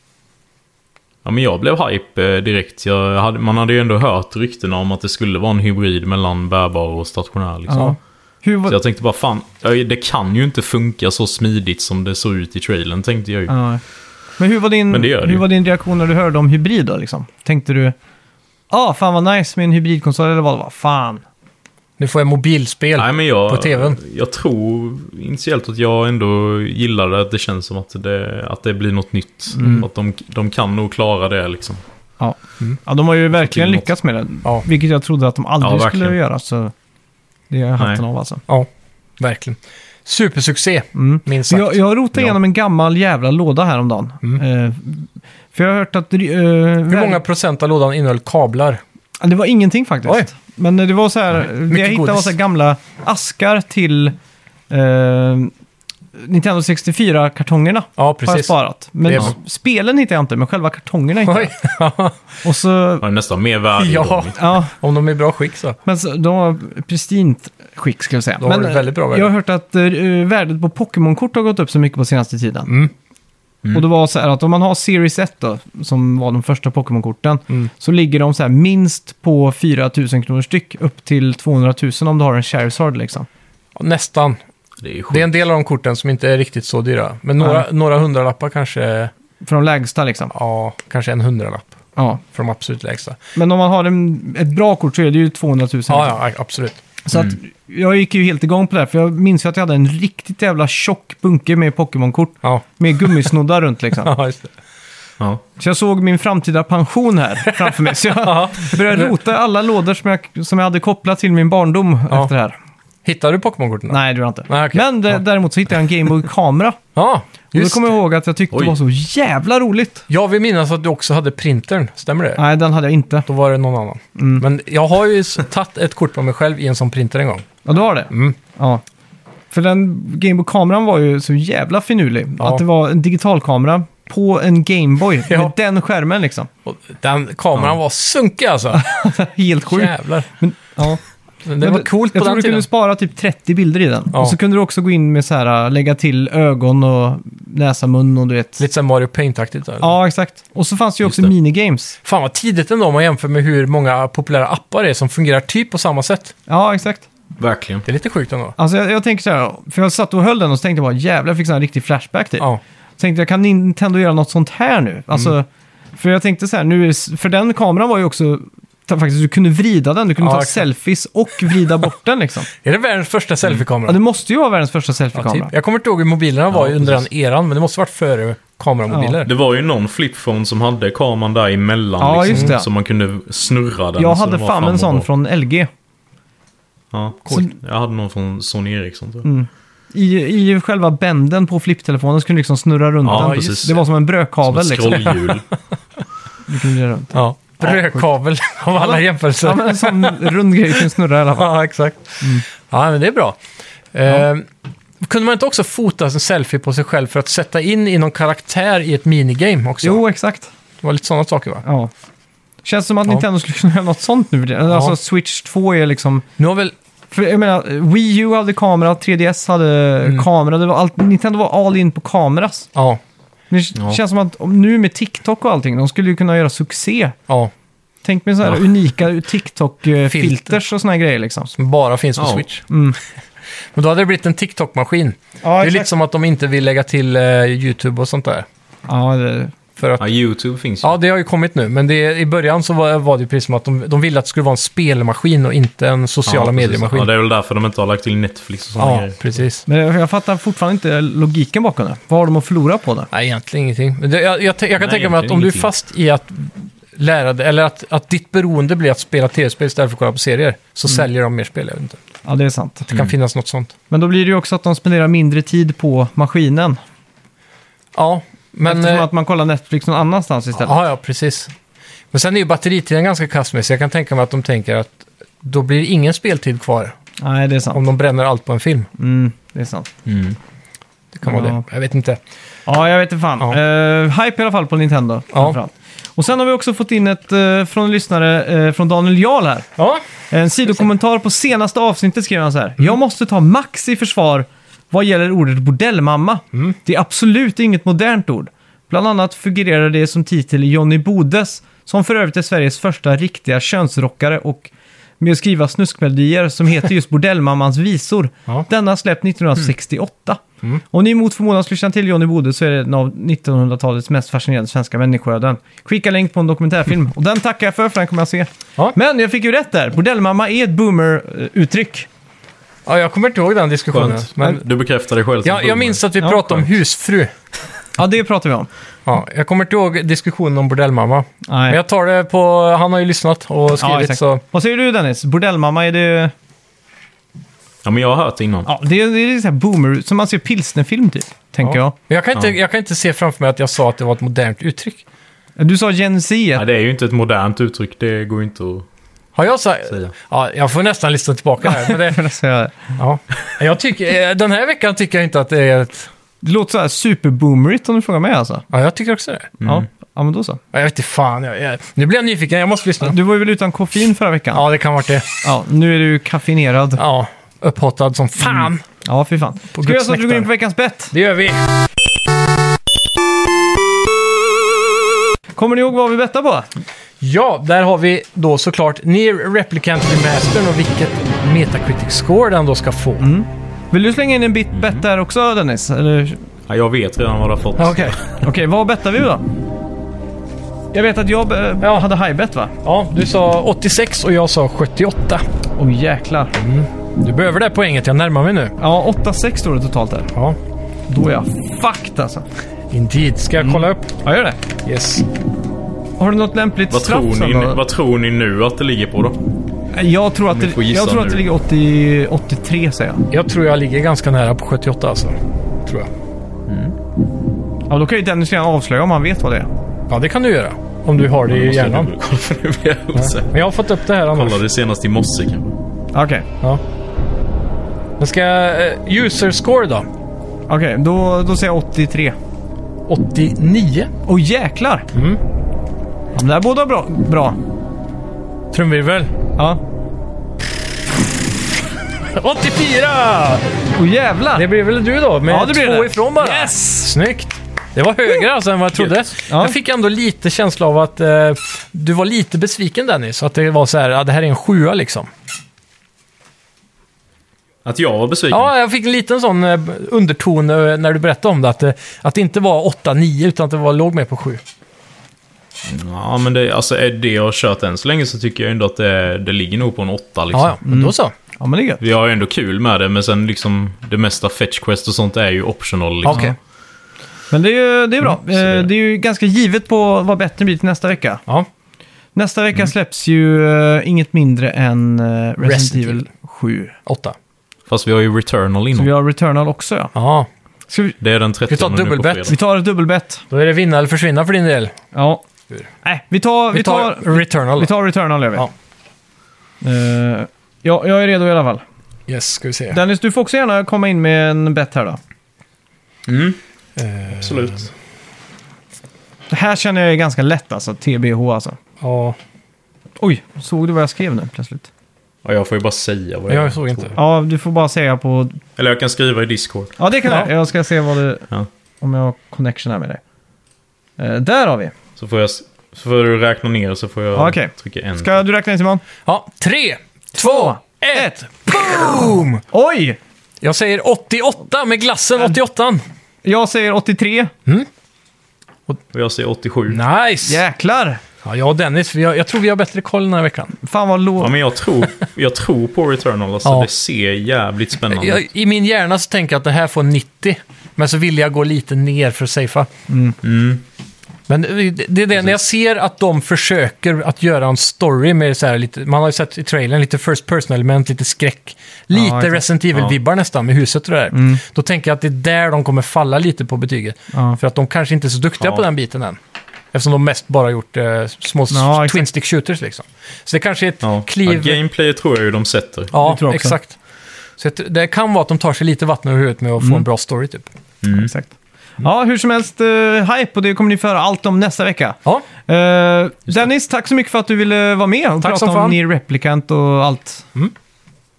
Speaker 2: men jag blev hype eh, direkt. Jag hade, man hade ju ändå hört ryktena om att det skulle vara en hybrid mellan bärbar och stationär liksom.
Speaker 3: Ja. Hur var...
Speaker 2: Så jag tänkte bara fan, ja, det kan ju inte funka så smidigt som det såg ut i trailern tänkte jag ju.
Speaker 3: Ja. Men hur var din,
Speaker 2: Men det gör det
Speaker 3: hur
Speaker 2: ju.
Speaker 3: var din reaktion när du hörde om hybrid då liksom? Tänkte du... Ah, fan vad nice med en hybridkonsol eller vad det var? Fan.
Speaker 1: Nu får jag mobilspel.
Speaker 2: Nej, men jag,
Speaker 1: på TV:n.
Speaker 2: Jag tror initiellt att jag ändå gillar det. Att det känns som att det, att det blir något nytt.
Speaker 3: Mm.
Speaker 2: Att de, de kan nog klara det liksom.
Speaker 3: Ja. ja, de har ju verkligen
Speaker 2: till något.
Speaker 3: lyckats med det.
Speaker 1: Ja.
Speaker 3: Vilket jag trodde att de aldrig
Speaker 2: Alltså, Ja,
Speaker 3: skulle
Speaker 2: verkligen.
Speaker 3: göra. Så det är hatten av alltså. Mm.
Speaker 1: Ja, verkligen. Supersuccé, minst sagt.
Speaker 3: Jag, jag rotade
Speaker 2: Ja. Mm.
Speaker 3: igenom en gammal jävla låda häromdagen. Eh, för jag har hört att... eh,
Speaker 1: Hur många procent av lådan innehöll kablar?
Speaker 3: Ja, Det var ingenting faktiskt.
Speaker 1: Oj.
Speaker 3: Men eh, det var så här, det jag hittade
Speaker 1: godis.
Speaker 3: var så här gamla askar till eh, Nintendo 64-kartongerna.
Speaker 1: Ja,
Speaker 3: Har jag
Speaker 1: precis.
Speaker 3: sparat. Men
Speaker 1: Det är
Speaker 3: s- spelen hittade jag inte, men själva kartongerna hittade
Speaker 1: Oj.
Speaker 3: jag. Och så,
Speaker 2: Det är nästan mer värde i
Speaker 1: ja,
Speaker 2: dem.
Speaker 3: ja,
Speaker 1: om de är i bra skick så.
Speaker 3: men så, de var pristint skick skulle jag säga.
Speaker 1: De har
Speaker 3: men eh,
Speaker 1: ett väldigt bra värde.
Speaker 3: Jag har hört att eh, värdet på Pokémon-kort har gått upp så mycket på senaste tiden.
Speaker 1: Mm.
Speaker 2: Mm.
Speaker 3: Och det var så här att om man har Series 1 då, som var de första Pokémon-korten,
Speaker 1: Mm.
Speaker 3: så ligger de så här minst på 4 000 kronor styck, upp till 200 000 om du har en Charizard liksom.
Speaker 1: Ja, Nästan.
Speaker 2: Det är
Speaker 1: Det är
Speaker 2: sjukt.
Speaker 1: en del av de korten som inte är riktigt så dyra. Men några, några hundralappar kanske,
Speaker 3: För de lägsta liksom.
Speaker 1: ja, kanske en hundralapp
Speaker 3: Ja.
Speaker 1: för de absolut lägsta.
Speaker 3: Men om man har en, ett bra kort så är det ju 200 000.
Speaker 1: Ja, Mm. ja, a- absolut.
Speaker 3: Så att jag gick ju helt igång på det här, för jag minns ju att jag hade en riktigt jävla tjock bunke med Pokémon-kort.
Speaker 1: Ja,
Speaker 3: Med gummisnoddar runt liksom.
Speaker 1: ja just det.
Speaker 2: Ja.
Speaker 3: Så jag såg min framtida pension här framför mig. Så jag
Speaker 1: Ja.
Speaker 3: började rota i alla lådor som jag, som jag hade kopplat till min barndom
Speaker 1: Ja.
Speaker 3: efter det här.
Speaker 1: Hittar du Pokémon-korten? då?
Speaker 3: Nej, det var inte.
Speaker 1: Nej, okej.
Speaker 3: Men d-
Speaker 1: Ja.
Speaker 3: däremot så hittade jag en Gameboy-kamera.
Speaker 1: Ja,
Speaker 3: Och då
Speaker 1: just
Speaker 3: kommer jag ihåg att jag tyckte
Speaker 2: Oj.
Speaker 3: det var så jävla roligt.
Speaker 1: Jag vill minnas att du också hade printern, stämmer det?
Speaker 3: Nej, den hade jag inte.
Speaker 1: Då var det någon annan.
Speaker 3: Mm.
Speaker 1: Men jag har ju s- tagit ett kort på mig själv i en sån printer en gång.
Speaker 3: Ja, du har det?
Speaker 1: Mm.
Speaker 3: Ja. För den Gameboy-kameran var ju så jävla finurlig.
Speaker 1: Ja.
Speaker 3: Att det var en digitalkamera på en Gameboy
Speaker 1: Ja.
Speaker 3: med den skärmen liksom.
Speaker 1: Och den kameran
Speaker 2: Ja.
Speaker 1: var sunkig alltså.
Speaker 3: Helt sjukt.
Speaker 1: Jävlar.
Speaker 3: Men, ja.
Speaker 1: Det
Speaker 3: Men
Speaker 1: var coolt
Speaker 3: jag
Speaker 1: på
Speaker 3: tror
Speaker 1: den
Speaker 3: du kunde
Speaker 1: tiden.
Speaker 3: spara typ 30 bilder i den.
Speaker 1: Ja.
Speaker 3: Och så kunde du också gå in med så här, äh, lägga till ögon och näsa, mun och du vet.
Speaker 1: Lite som Mario Paint-aktigt. där.
Speaker 3: Ja, exakt. Och så fanns det ju också
Speaker 2: Just det.
Speaker 3: minigames.
Speaker 1: Fan vad tidigt ändå om man jämför med hur många populära appar är som fungerar typ på samma sätt.
Speaker 3: Ja, exakt.
Speaker 2: Verkligen.
Speaker 1: Det är lite sjukt ändå.
Speaker 3: Alltså jag, jag tänker så här, för jag satt och höll den och så tänkte jag bara jävlar, jag fick så här en riktig flashback typ.
Speaker 1: Ja,
Speaker 3: tänkte jag, kan Nintendo göra något sånt här nu? Alltså, För jag tänkte så här, nu, är s- för den kameran var ju också, ta- faktiskt, du kunde vrida den, du kunde
Speaker 1: Ja,
Speaker 3: ta
Speaker 1: exakt.
Speaker 3: selfies och vrida bort den liksom.
Speaker 1: Är det världens första selfie-kamera?
Speaker 3: Ja, det måste ju vara världens första
Speaker 1: Ja,
Speaker 3: selfie-kamera.
Speaker 1: typ. Jag kommer inte ihåg hur mobilerna var
Speaker 2: Ja,
Speaker 1: under den
Speaker 2: precis.
Speaker 1: eran, men det måste varit före kameramobiler.
Speaker 2: Det var ju någon flipphone som hade kameran där emellan.
Speaker 3: Ja,
Speaker 2: liksom,
Speaker 3: just det.
Speaker 2: Så man kunde snurra den.
Speaker 3: jag
Speaker 2: så
Speaker 3: hade
Speaker 2: den var
Speaker 3: fan
Speaker 2: fram
Speaker 3: en
Speaker 2: och
Speaker 3: sån
Speaker 2: bak.
Speaker 3: från LG.
Speaker 2: Ja,
Speaker 3: Coolt.
Speaker 2: Jag hade någon från Sony Ericsson
Speaker 3: Mm,
Speaker 2: tror jag.
Speaker 3: I, I själva bänden på flipptelefonen så kunde du liksom snurra runt
Speaker 2: Ja,
Speaker 3: den.
Speaker 2: precis.
Speaker 3: Det var som en brödkavel
Speaker 2: Som ett
Speaker 3: liksom.
Speaker 2: scrollhjul.
Speaker 3: Du kunde göra runt.
Speaker 1: Ja. Brödkavel av alla jämförelser.
Speaker 3: Ja, men en sån rund grej du kunde snurra i alla fall.
Speaker 1: Ja, exakt.
Speaker 2: Mm.
Speaker 1: Ja, men det är bra. Ehm, kunde man inte också fota en selfie på sig själv för att sätta in i någon karaktär i ett minigame också?
Speaker 3: Jo, exakt.
Speaker 1: Det var lite sådana saker va?
Speaker 3: Ja. Känns som att
Speaker 1: Ja.
Speaker 3: Nintendo skulle kunna göra något sånt nu. för tiden. Alltså
Speaker 1: Ja.
Speaker 3: Switch 2 är liksom...
Speaker 1: Nu har väl...
Speaker 3: För jag menar, Wii U hade kamera, 3DS hade
Speaker 1: Mm.
Speaker 3: kamera, det var allt, Nintendo var all in på kameras.
Speaker 1: Ja,
Speaker 3: Men Det
Speaker 2: Ja.
Speaker 3: känns som att om, nu med TikTok och allting, de skulle ju kunna göra succé.
Speaker 1: ja.
Speaker 3: Tänk med sådana här
Speaker 2: Ja.
Speaker 3: unika TikTok-filters
Speaker 1: Filter.
Speaker 3: och sådana grejer liksom.
Speaker 1: Som bara finns på
Speaker 2: Ja. Mm.
Speaker 1: Switch. Men då hade det blivit en TikTok-maskin.
Speaker 3: Ja,
Speaker 1: det är lite som att de inte vill lägga till eh, YouTube och sånt där.
Speaker 3: Ja, det,
Speaker 1: För att...
Speaker 2: Ja, YouTube finns ju.
Speaker 1: Ja, det har ju kommit nu, men det, i början så var, var det ju precis som att de, de ville att det skulle vara en spelmaskin och inte en sociala
Speaker 2: precis.
Speaker 1: mediemaskin.
Speaker 2: Ja, det är väl därför de inte har lagt till Netflix och sådana
Speaker 1: Ja,
Speaker 2: grejer.
Speaker 1: precis.
Speaker 3: men jag, jag fattar fortfarande inte logiken bakom det. Vad har de att förlora på det?
Speaker 1: Nej, egentligen ingenting. Men det, jag, jag, tän- jag kan
Speaker 2: Nej,
Speaker 1: tänka mig att
Speaker 2: egentligen
Speaker 1: om du är
Speaker 2: ingenting.
Speaker 1: fast i att lära dig, eller att, att ditt beroende blir att spela tv-spel istället för att kolla på serier, så
Speaker 2: Mm.
Speaker 1: säljer de mer spel. Jag vet inte.
Speaker 3: Ja, det är sant.
Speaker 1: Det kan finnas något sånt.
Speaker 3: Men då blir det ju också att de spenderar mindre tid på maskinen.
Speaker 1: Ja, men...
Speaker 3: eftersom
Speaker 1: eh,
Speaker 3: att man kollar Netflix någon annanstans istället.
Speaker 1: Ja, ja, precis. Men sen är ju batteritiden ganska kastmässig. Jag kan tänka mig att de tänker att då blir det ingen speltid kvar
Speaker 3: Nej, det är sant.
Speaker 1: om de bränner allt på en film.
Speaker 3: Mm, det är sant.
Speaker 2: Mm.
Speaker 1: Det kan vara
Speaker 3: Ja.
Speaker 1: det. Jag vet inte.
Speaker 3: Ja, jag vet inte fan.
Speaker 1: Ja.
Speaker 3: Eh, hype i alla fall på Nintendo.
Speaker 1: Ja.
Speaker 3: framförallt. Och sen har vi också fått in ett eh, från en lyssnare eh, från Daniel Jarl här.
Speaker 1: Ja,
Speaker 3: En sidokommentar på senaste avsnittet skrev han så här. Jag måste ta Max i försvar vad gäller ordet bordellmamma. Det är absolut inget modernt ord. Bland annat figurerar det som titel i Johnny Bodes, som för övrigt är Sveriges första riktiga könsrockare och med att skriva snuskmelodier som heter just Bordellmammans visor.
Speaker 1: Ja.
Speaker 3: Denna släppt 1968. Om ni mot förmodan skulle känna till Johnny Bode så är det en av 1900-talets mest fascinerande svenska människoöden. Skicka länk på en dokumentärfilm och den tackar jag för, för den kommer jag se.
Speaker 1: Ja.
Speaker 3: Men jag fick ju rätt där. Bordellmamma är ett boomer-uttryck.
Speaker 1: ja jag kommer inte ihåg den diskussionen.
Speaker 2: Skönt.
Speaker 1: Men
Speaker 2: Du bekräftar dig själv. som
Speaker 1: jag, jag
Speaker 2: boomer.
Speaker 1: minns att vi
Speaker 3: Ja,
Speaker 1: pratade om
Speaker 2: skönt.
Speaker 1: husfru.
Speaker 3: Ja, det pratar vi om.
Speaker 1: Ja, jag kommer inte ihåg diskussionen om bordellmamma. Men
Speaker 3: Nej.
Speaker 1: jag tar det på... Han har ju lyssnat och
Speaker 3: Ja,
Speaker 1: skrivit
Speaker 3: exakt.
Speaker 1: så...
Speaker 3: Vad säger du Dennis? Bordellmamma, är det...
Speaker 2: Ja, men jag har hört det innan.
Speaker 3: Ja, det är, det är så här boomer, som man ser pilsnerfilm typ, tänker
Speaker 1: Men jag kan, inte, jag kan inte se framför mig att jag sa att det var ett modernt uttryck.
Speaker 3: jag. Du sa Gen Z.
Speaker 2: Nej, det är ju inte ett modernt uttryck. Det går ju inte att
Speaker 1: Har jag sagt?
Speaker 2: säga.
Speaker 1: Ja, jag får nästan lyssna tillbaka här. Men det,
Speaker 3: Men alltså, jag-
Speaker 1: ja. jag tycker, eh, den här veckan tycker jag inte att det är ett...
Speaker 3: Det låter så här superboomerigt om du frågar mig alltså.
Speaker 1: Ja, jag tycker också det.
Speaker 3: Ja. ja, men då så.
Speaker 1: Ja, Jag vet inte fan. Jag, jag, nu blir jag nyfiken. Jag måste lyssna.
Speaker 3: Du var ju väl utan koffein förra veckan?
Speaker 1: Ja, det kan vara det.
Speaker 3: Ja, nu är du ju kaffinerad. Ja,
Speaker 1: Ja, upphottad som
Speaker 3: Mm.
Speaker 1: fan.
Speaker 3: fy fan. Ska vi
Speaker 1: Guds
Speaker 3: göra så att vi går
Speaker 1: nektar.
Speaker 3: in på veckans bett?
Speaker 1: Det gör vi.
Speaker 3: Kommer ni ihåg vad vi bettade på?
Speaker 1: Ja, där har vi då såklart Near Replicant Remastern och vilket Metacritic score den då ska få.
Speaker 3: Mm. Vill du slänga in en bit bett där också Dennis? Eller?
Speaker 2: Ja, jag vet redan vad det har fått.
Speaker 1: Ja, Okej.
Speaker 3: Okej, vad bettade vi då? Jag vet att jag eh,
Speaker 1: Ja.
Speaker 3: hade high bet va?
Speaker 1: Ja, du sa 86 och jag sa 78.
Speaker 3: Åh oh, jäklar.
Speaker 1: Du behöver det här poänget, jag närmar mig nu.
Speaker 3: Ja, 8-6 står det totalt där.
Speaker 1: Ja,
Speaker 3: Då är jag fucked alltså.
Speaker 1: indeed. Ska jag kolla upp?
Speaker 3: Ja, gör det.
Speaker 1: Yes.
Speaker 3: Har du något lämpligt
Speaker 2: Vad
Speaker 3: straff
Speaker 2: tror,
Speaker 3: sen
Speaker 2: ni,
Speaker 3: då?
Speaker 2: vad tror ni nu att det ligger på då?
Speaker 3: Jag tror att
Speaker 2: Ni får
Speaker 3: det,
Speaker 2: gissa
Speaker 3: jag tror att
Speaker 2: nu.
Speaker 3: det ligger 80, 83 säger jag.
Speaker 1: Jag tror jag ligger ganska nära på 78 alltså. Tror jag.
Speaker 3: Ja, då kan ju Dennis redan avslöja om han vet vad det är.
Speaker 1: Ja, det kan du göra. Om du har det i hjärnan.
Speaker 2: Kolla för nu blir jag osäker.
Speaker 1: Men jag har fått upp det här annars.
Speaker 2: Kollade senast i morse kanske.
Speaker 3: Okej,
Speaker 1: Ja. Men ska jag... eh, User score då?
Speaker 3: okej. Då, då säger jag 83.
Speaker 1: 89.
Speaker 3: Åh jäklar! Mm. Ja, men det här båda bra. bra.
Speaker 1: Trumvirvel.
Speaker 3: Ja.
Speaker 1: 84!
Speaker 3: Åh jävlar!
Speaker 1: Det blir väl du då? Med
Speaker 3: Ja, det blir
Speaker 1: två
Speaker 3: det.
Speaker 1: ifrån bara.
Speaker 3: Yes!
Speaker 1: Snyggt! Det var högre alltså än vad jag trodde.
Speaker 3: Ja.
Speaker 1: Jag fick ändå lite känsla av att eh, du var lite besviken Dennis. Att det var så här, ja, det här är en sjua liksom.
Speaker 2: Att jag var besviken?
Speaker 1: Ja, jag fick en liten sån eh, underton eh, när du berättade om det. Att, eh, att det inte var 8-9 utan att det var, låg mer på 7.
Speaker 2: Ja, men det, alltså, är det jag har kört än så länge så tycker jag ändå att det, det ligger nog på en åtta. Liksom.
Speaker 1: Ja, ja. men Då så.
Speaker 3: Ja, men det är gött.
Speaker 2: Vi har ju ändå kul med det, men sen liksom det mesta fetch quest och sånt är ju optional. Liksom.
Speaker 1: Okej.
Speaker 3: Men det är ju det är bra.
Speaker 2: Mm. så det-
Speaker 3: Eh, det är ju ganska givet på vad betten blir till nästa vecka.
Speaker 1: Ja.
Speaker 3: Nästa vecka släpps ju eh, inget mindre än eh, Resident,
Speaker 1: Resident
Speaker 3: Evil 7.
Speaker 1: 8.
Speaker 2: Fast vi har ju Returnal
Speaker 3: Så
Speaker 2: innan.
Speaker 3: vi har Returnal också ja.
Speaker 1: Ja,
Speaker 3: Ska vi,
Speaker 2: Det är den 30
Speaker 1: Vi tar
Speaker 2: nu på
Speaker 1: dubbelbett.
Speaker 2: fredag.
Speaker 3: vi tar ett dubbelbett.
Speaker 1: då är det vinna eller försvinna för din del.
Speaker 3: Ja. Nej, vi tar,
Speaker 1: Vi tar Returnal.
Speaker 3: vi tar Returnal gör vi.
Speaker 1: Ja.
Speaker 3: Eh, ja, jag är redo i alla fall.
Speaker 1: Yes, ska vi se.
Speaker 3: Dennis, du får också gärna komma in med en bett här då.
Speaker 2: Absolut.
Speaker 3: Det här känner jag är ganska lätt alltså. TBH alltså.
Speaker 1: Ja,
Speaker 3: Oj, såg du vad jag skrev nu plötsligt?
Speaker 2: Ja, jag får ju bara säga vad
Speaker 1: jag såg inte.
Speaker 3: Ja, du får bara säga på...
Speaker 2: Eller jag kan skriva i Discord.
Speaker 3: Ja, det kan
Speaker 1: Ja.
Speaker 3: jag. Jag ska se vad det...
Speaker 2: Ja.
Speaker 3: Om jag har connection här med dig. Eh, där har vi.
Speaker 2: Så får, jag, s- så får du räkna ner så får jag
Speaker 3: Ja, okej.
Speaker 2: trycka en.
Speaker 3: Ska du räkna in Simon?
Speaker 1: Ja, tre, två, ett, boom!
Speaker 3: Oj!
Speaker 1: Jag säger 88 med glassen 88.
Speaker 3: Jag säger 83.
Speaker 2: Och jag säger 87.
Speaker 1: Nice!
Speaker 3: Jäklar!
Speaker 1: Ja, jag och Dennis, vi har, jag tror vi har bättre koll den här veckan.
Speaker 3: Fan vad låg...
Speaker 2: Ja, men jag tror, jag tror på Returnal. Alltså,
Speaker 1: Ja.
Speaker 2: Det ser jävligt spännande ut.
Speaker 1: Jag, I min hjärna så tänker jag att det här får 90, men så vill jag gå lite ner för att safea.
Speaker 3: Mm.
Speaker 1: Men eh, det, det är det, när jag ser att de försöker att göra en story med så här lite, man har ju sett i trailern, lite first person element, lite skräck. Lite
Speaker 3: exakt. Mm.
Speaker 1: Resident Evil-vibbar nästan med huset och det där. Då tänker jag att det är där de kommer falla lite på betyget.
Speaker 3: Ja.
Speaker 1: För att de kanske inte är så duktiga
Speaker 2: Ja.
Speaker 1: på den biten än. Eftersom de mest bara gjort eh, små
Speaker 3: Ja, exakt.
Speaker 1: twin stick shooters liksom. Så det kanske är ett
Speaker 2: Ja.
Speaker 1: kliv...
Speaker 2: Ja, gameplay tror jag ju de sätter.
Speaker 1: Ja,
Speaker 3: Det tror jag också.
Speaker 1: exakt. Så att det kan vara att de tar sig lite vatten över huvudet med att
Speaker 3: Mm.
Speaker 1: få en bra story typ.
Speaker 3: Exakt. Ja, hur som helst, eh, hype och det kommer ni få höra allt om nästa vecka.
Speaker 1: Ja,
Speaker 3: Eh, Dennis, tack så mycket för att du ville vara med och
Speaker 1: Tack som
Speaker 3: prata om
Speaker 1: fan.
Speaker 3: Near Replicant och allt.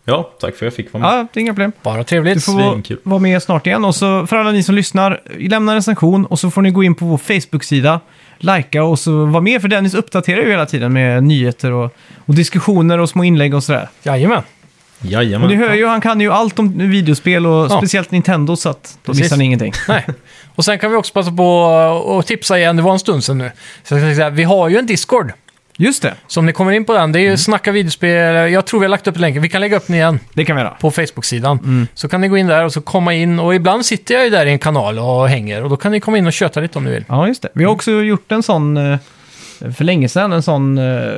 Speaker 2: Ja, tack för att jag fick
Speaker 1: Mm.
Speaker 2: vara med.
Speaker 3: Ja, det är inga problem.
Speaker 1: bara
Speaker 3: Du
Speaker 1: trevligt.
Speaker 3: får vara,
Speaker 2: Svinkul.
Speaker 3: vara med snart igen. Och så för alla ni som lyssnar, lämna en recension och så får ni gå in på vår Facebook-sida, likea och så vara med för Dennis uppdaterar ju hela tiden med nyheter och, och diskussioner och små inlägg och sådär.
Speaker 1: Jajamän.
Speaker 2: Jajamän.
Speaker 3: Och ni hör ju, han kan ju allt om videospel och speciellt Nintendo så att då
Speaker 1: Precis.
Speaker 3: missar ni ingenting.
Speaker 1: Nej. Och sen kan vi också passa på att tipsa igen, det var en stund sedan nu. Så jag ska säga, vi har ju en Discord.
Speaker 3: Just det,
Speaker 1: Så om ni kommer in på den, det är ju
Speaker 3: Mm.
Speaker 1: Snacka videospel, jag tror vi har lagt upp länken, vi kan lägga upp den igen
Speaker 3: det kan vi göra.
Speaker 1: på Facebook-sidan.
Speaker 3: Mm.
Speaker 1: Så kan ni gå in där och så komma in, och ibland sitter jag ju där i en kanal och hänger, och då kan ni komma in och köta lite om ni vill.
Speaker 3: Ja, just det. Vi har också gjort en sån, eh, för länge sedan, en sån eh,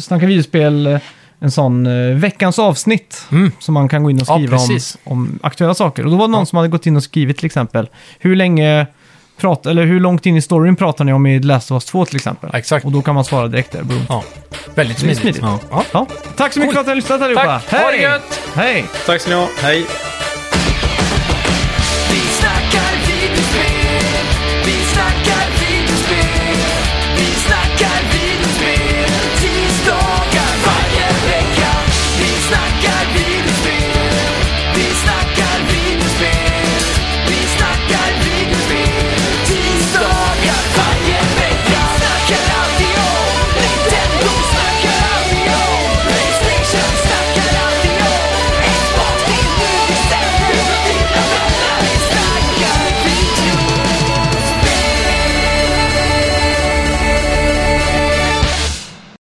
Speaker 3: snacka videospel eh, en sån eh, veckans avsnitt
Speaker 1: Mm.
Speaker 3: som man kan gå in och
Speaker 1: Ja,
Speaker 3: skriva om,
Speaker 1: precis.
Speaker 3: om aktuella saker. Och då var det någon som hade gått in och skrivit till exempel hur länge prat, eller hur långt in i storyn pratar ni om i The Last of Us 2 till exempel.
Speaker 1: Ja, exakt.
Speaker 3: Och då kan man svara direkt där. beroende.
Speaker 1: Ja. Väldigt
Speaker 3: Det är
Speaker 1: smidigt.
Speaker 3: smidigt.
Speaker 1: Ja.
Speaker 3: Ja. Tack så mycket för att ni har lyssnat allihopa.
Speaker 1: Tack. Ha det gött.
Speaker 3: Hej!
Speaker 2: Tack ska ni ha. Hej.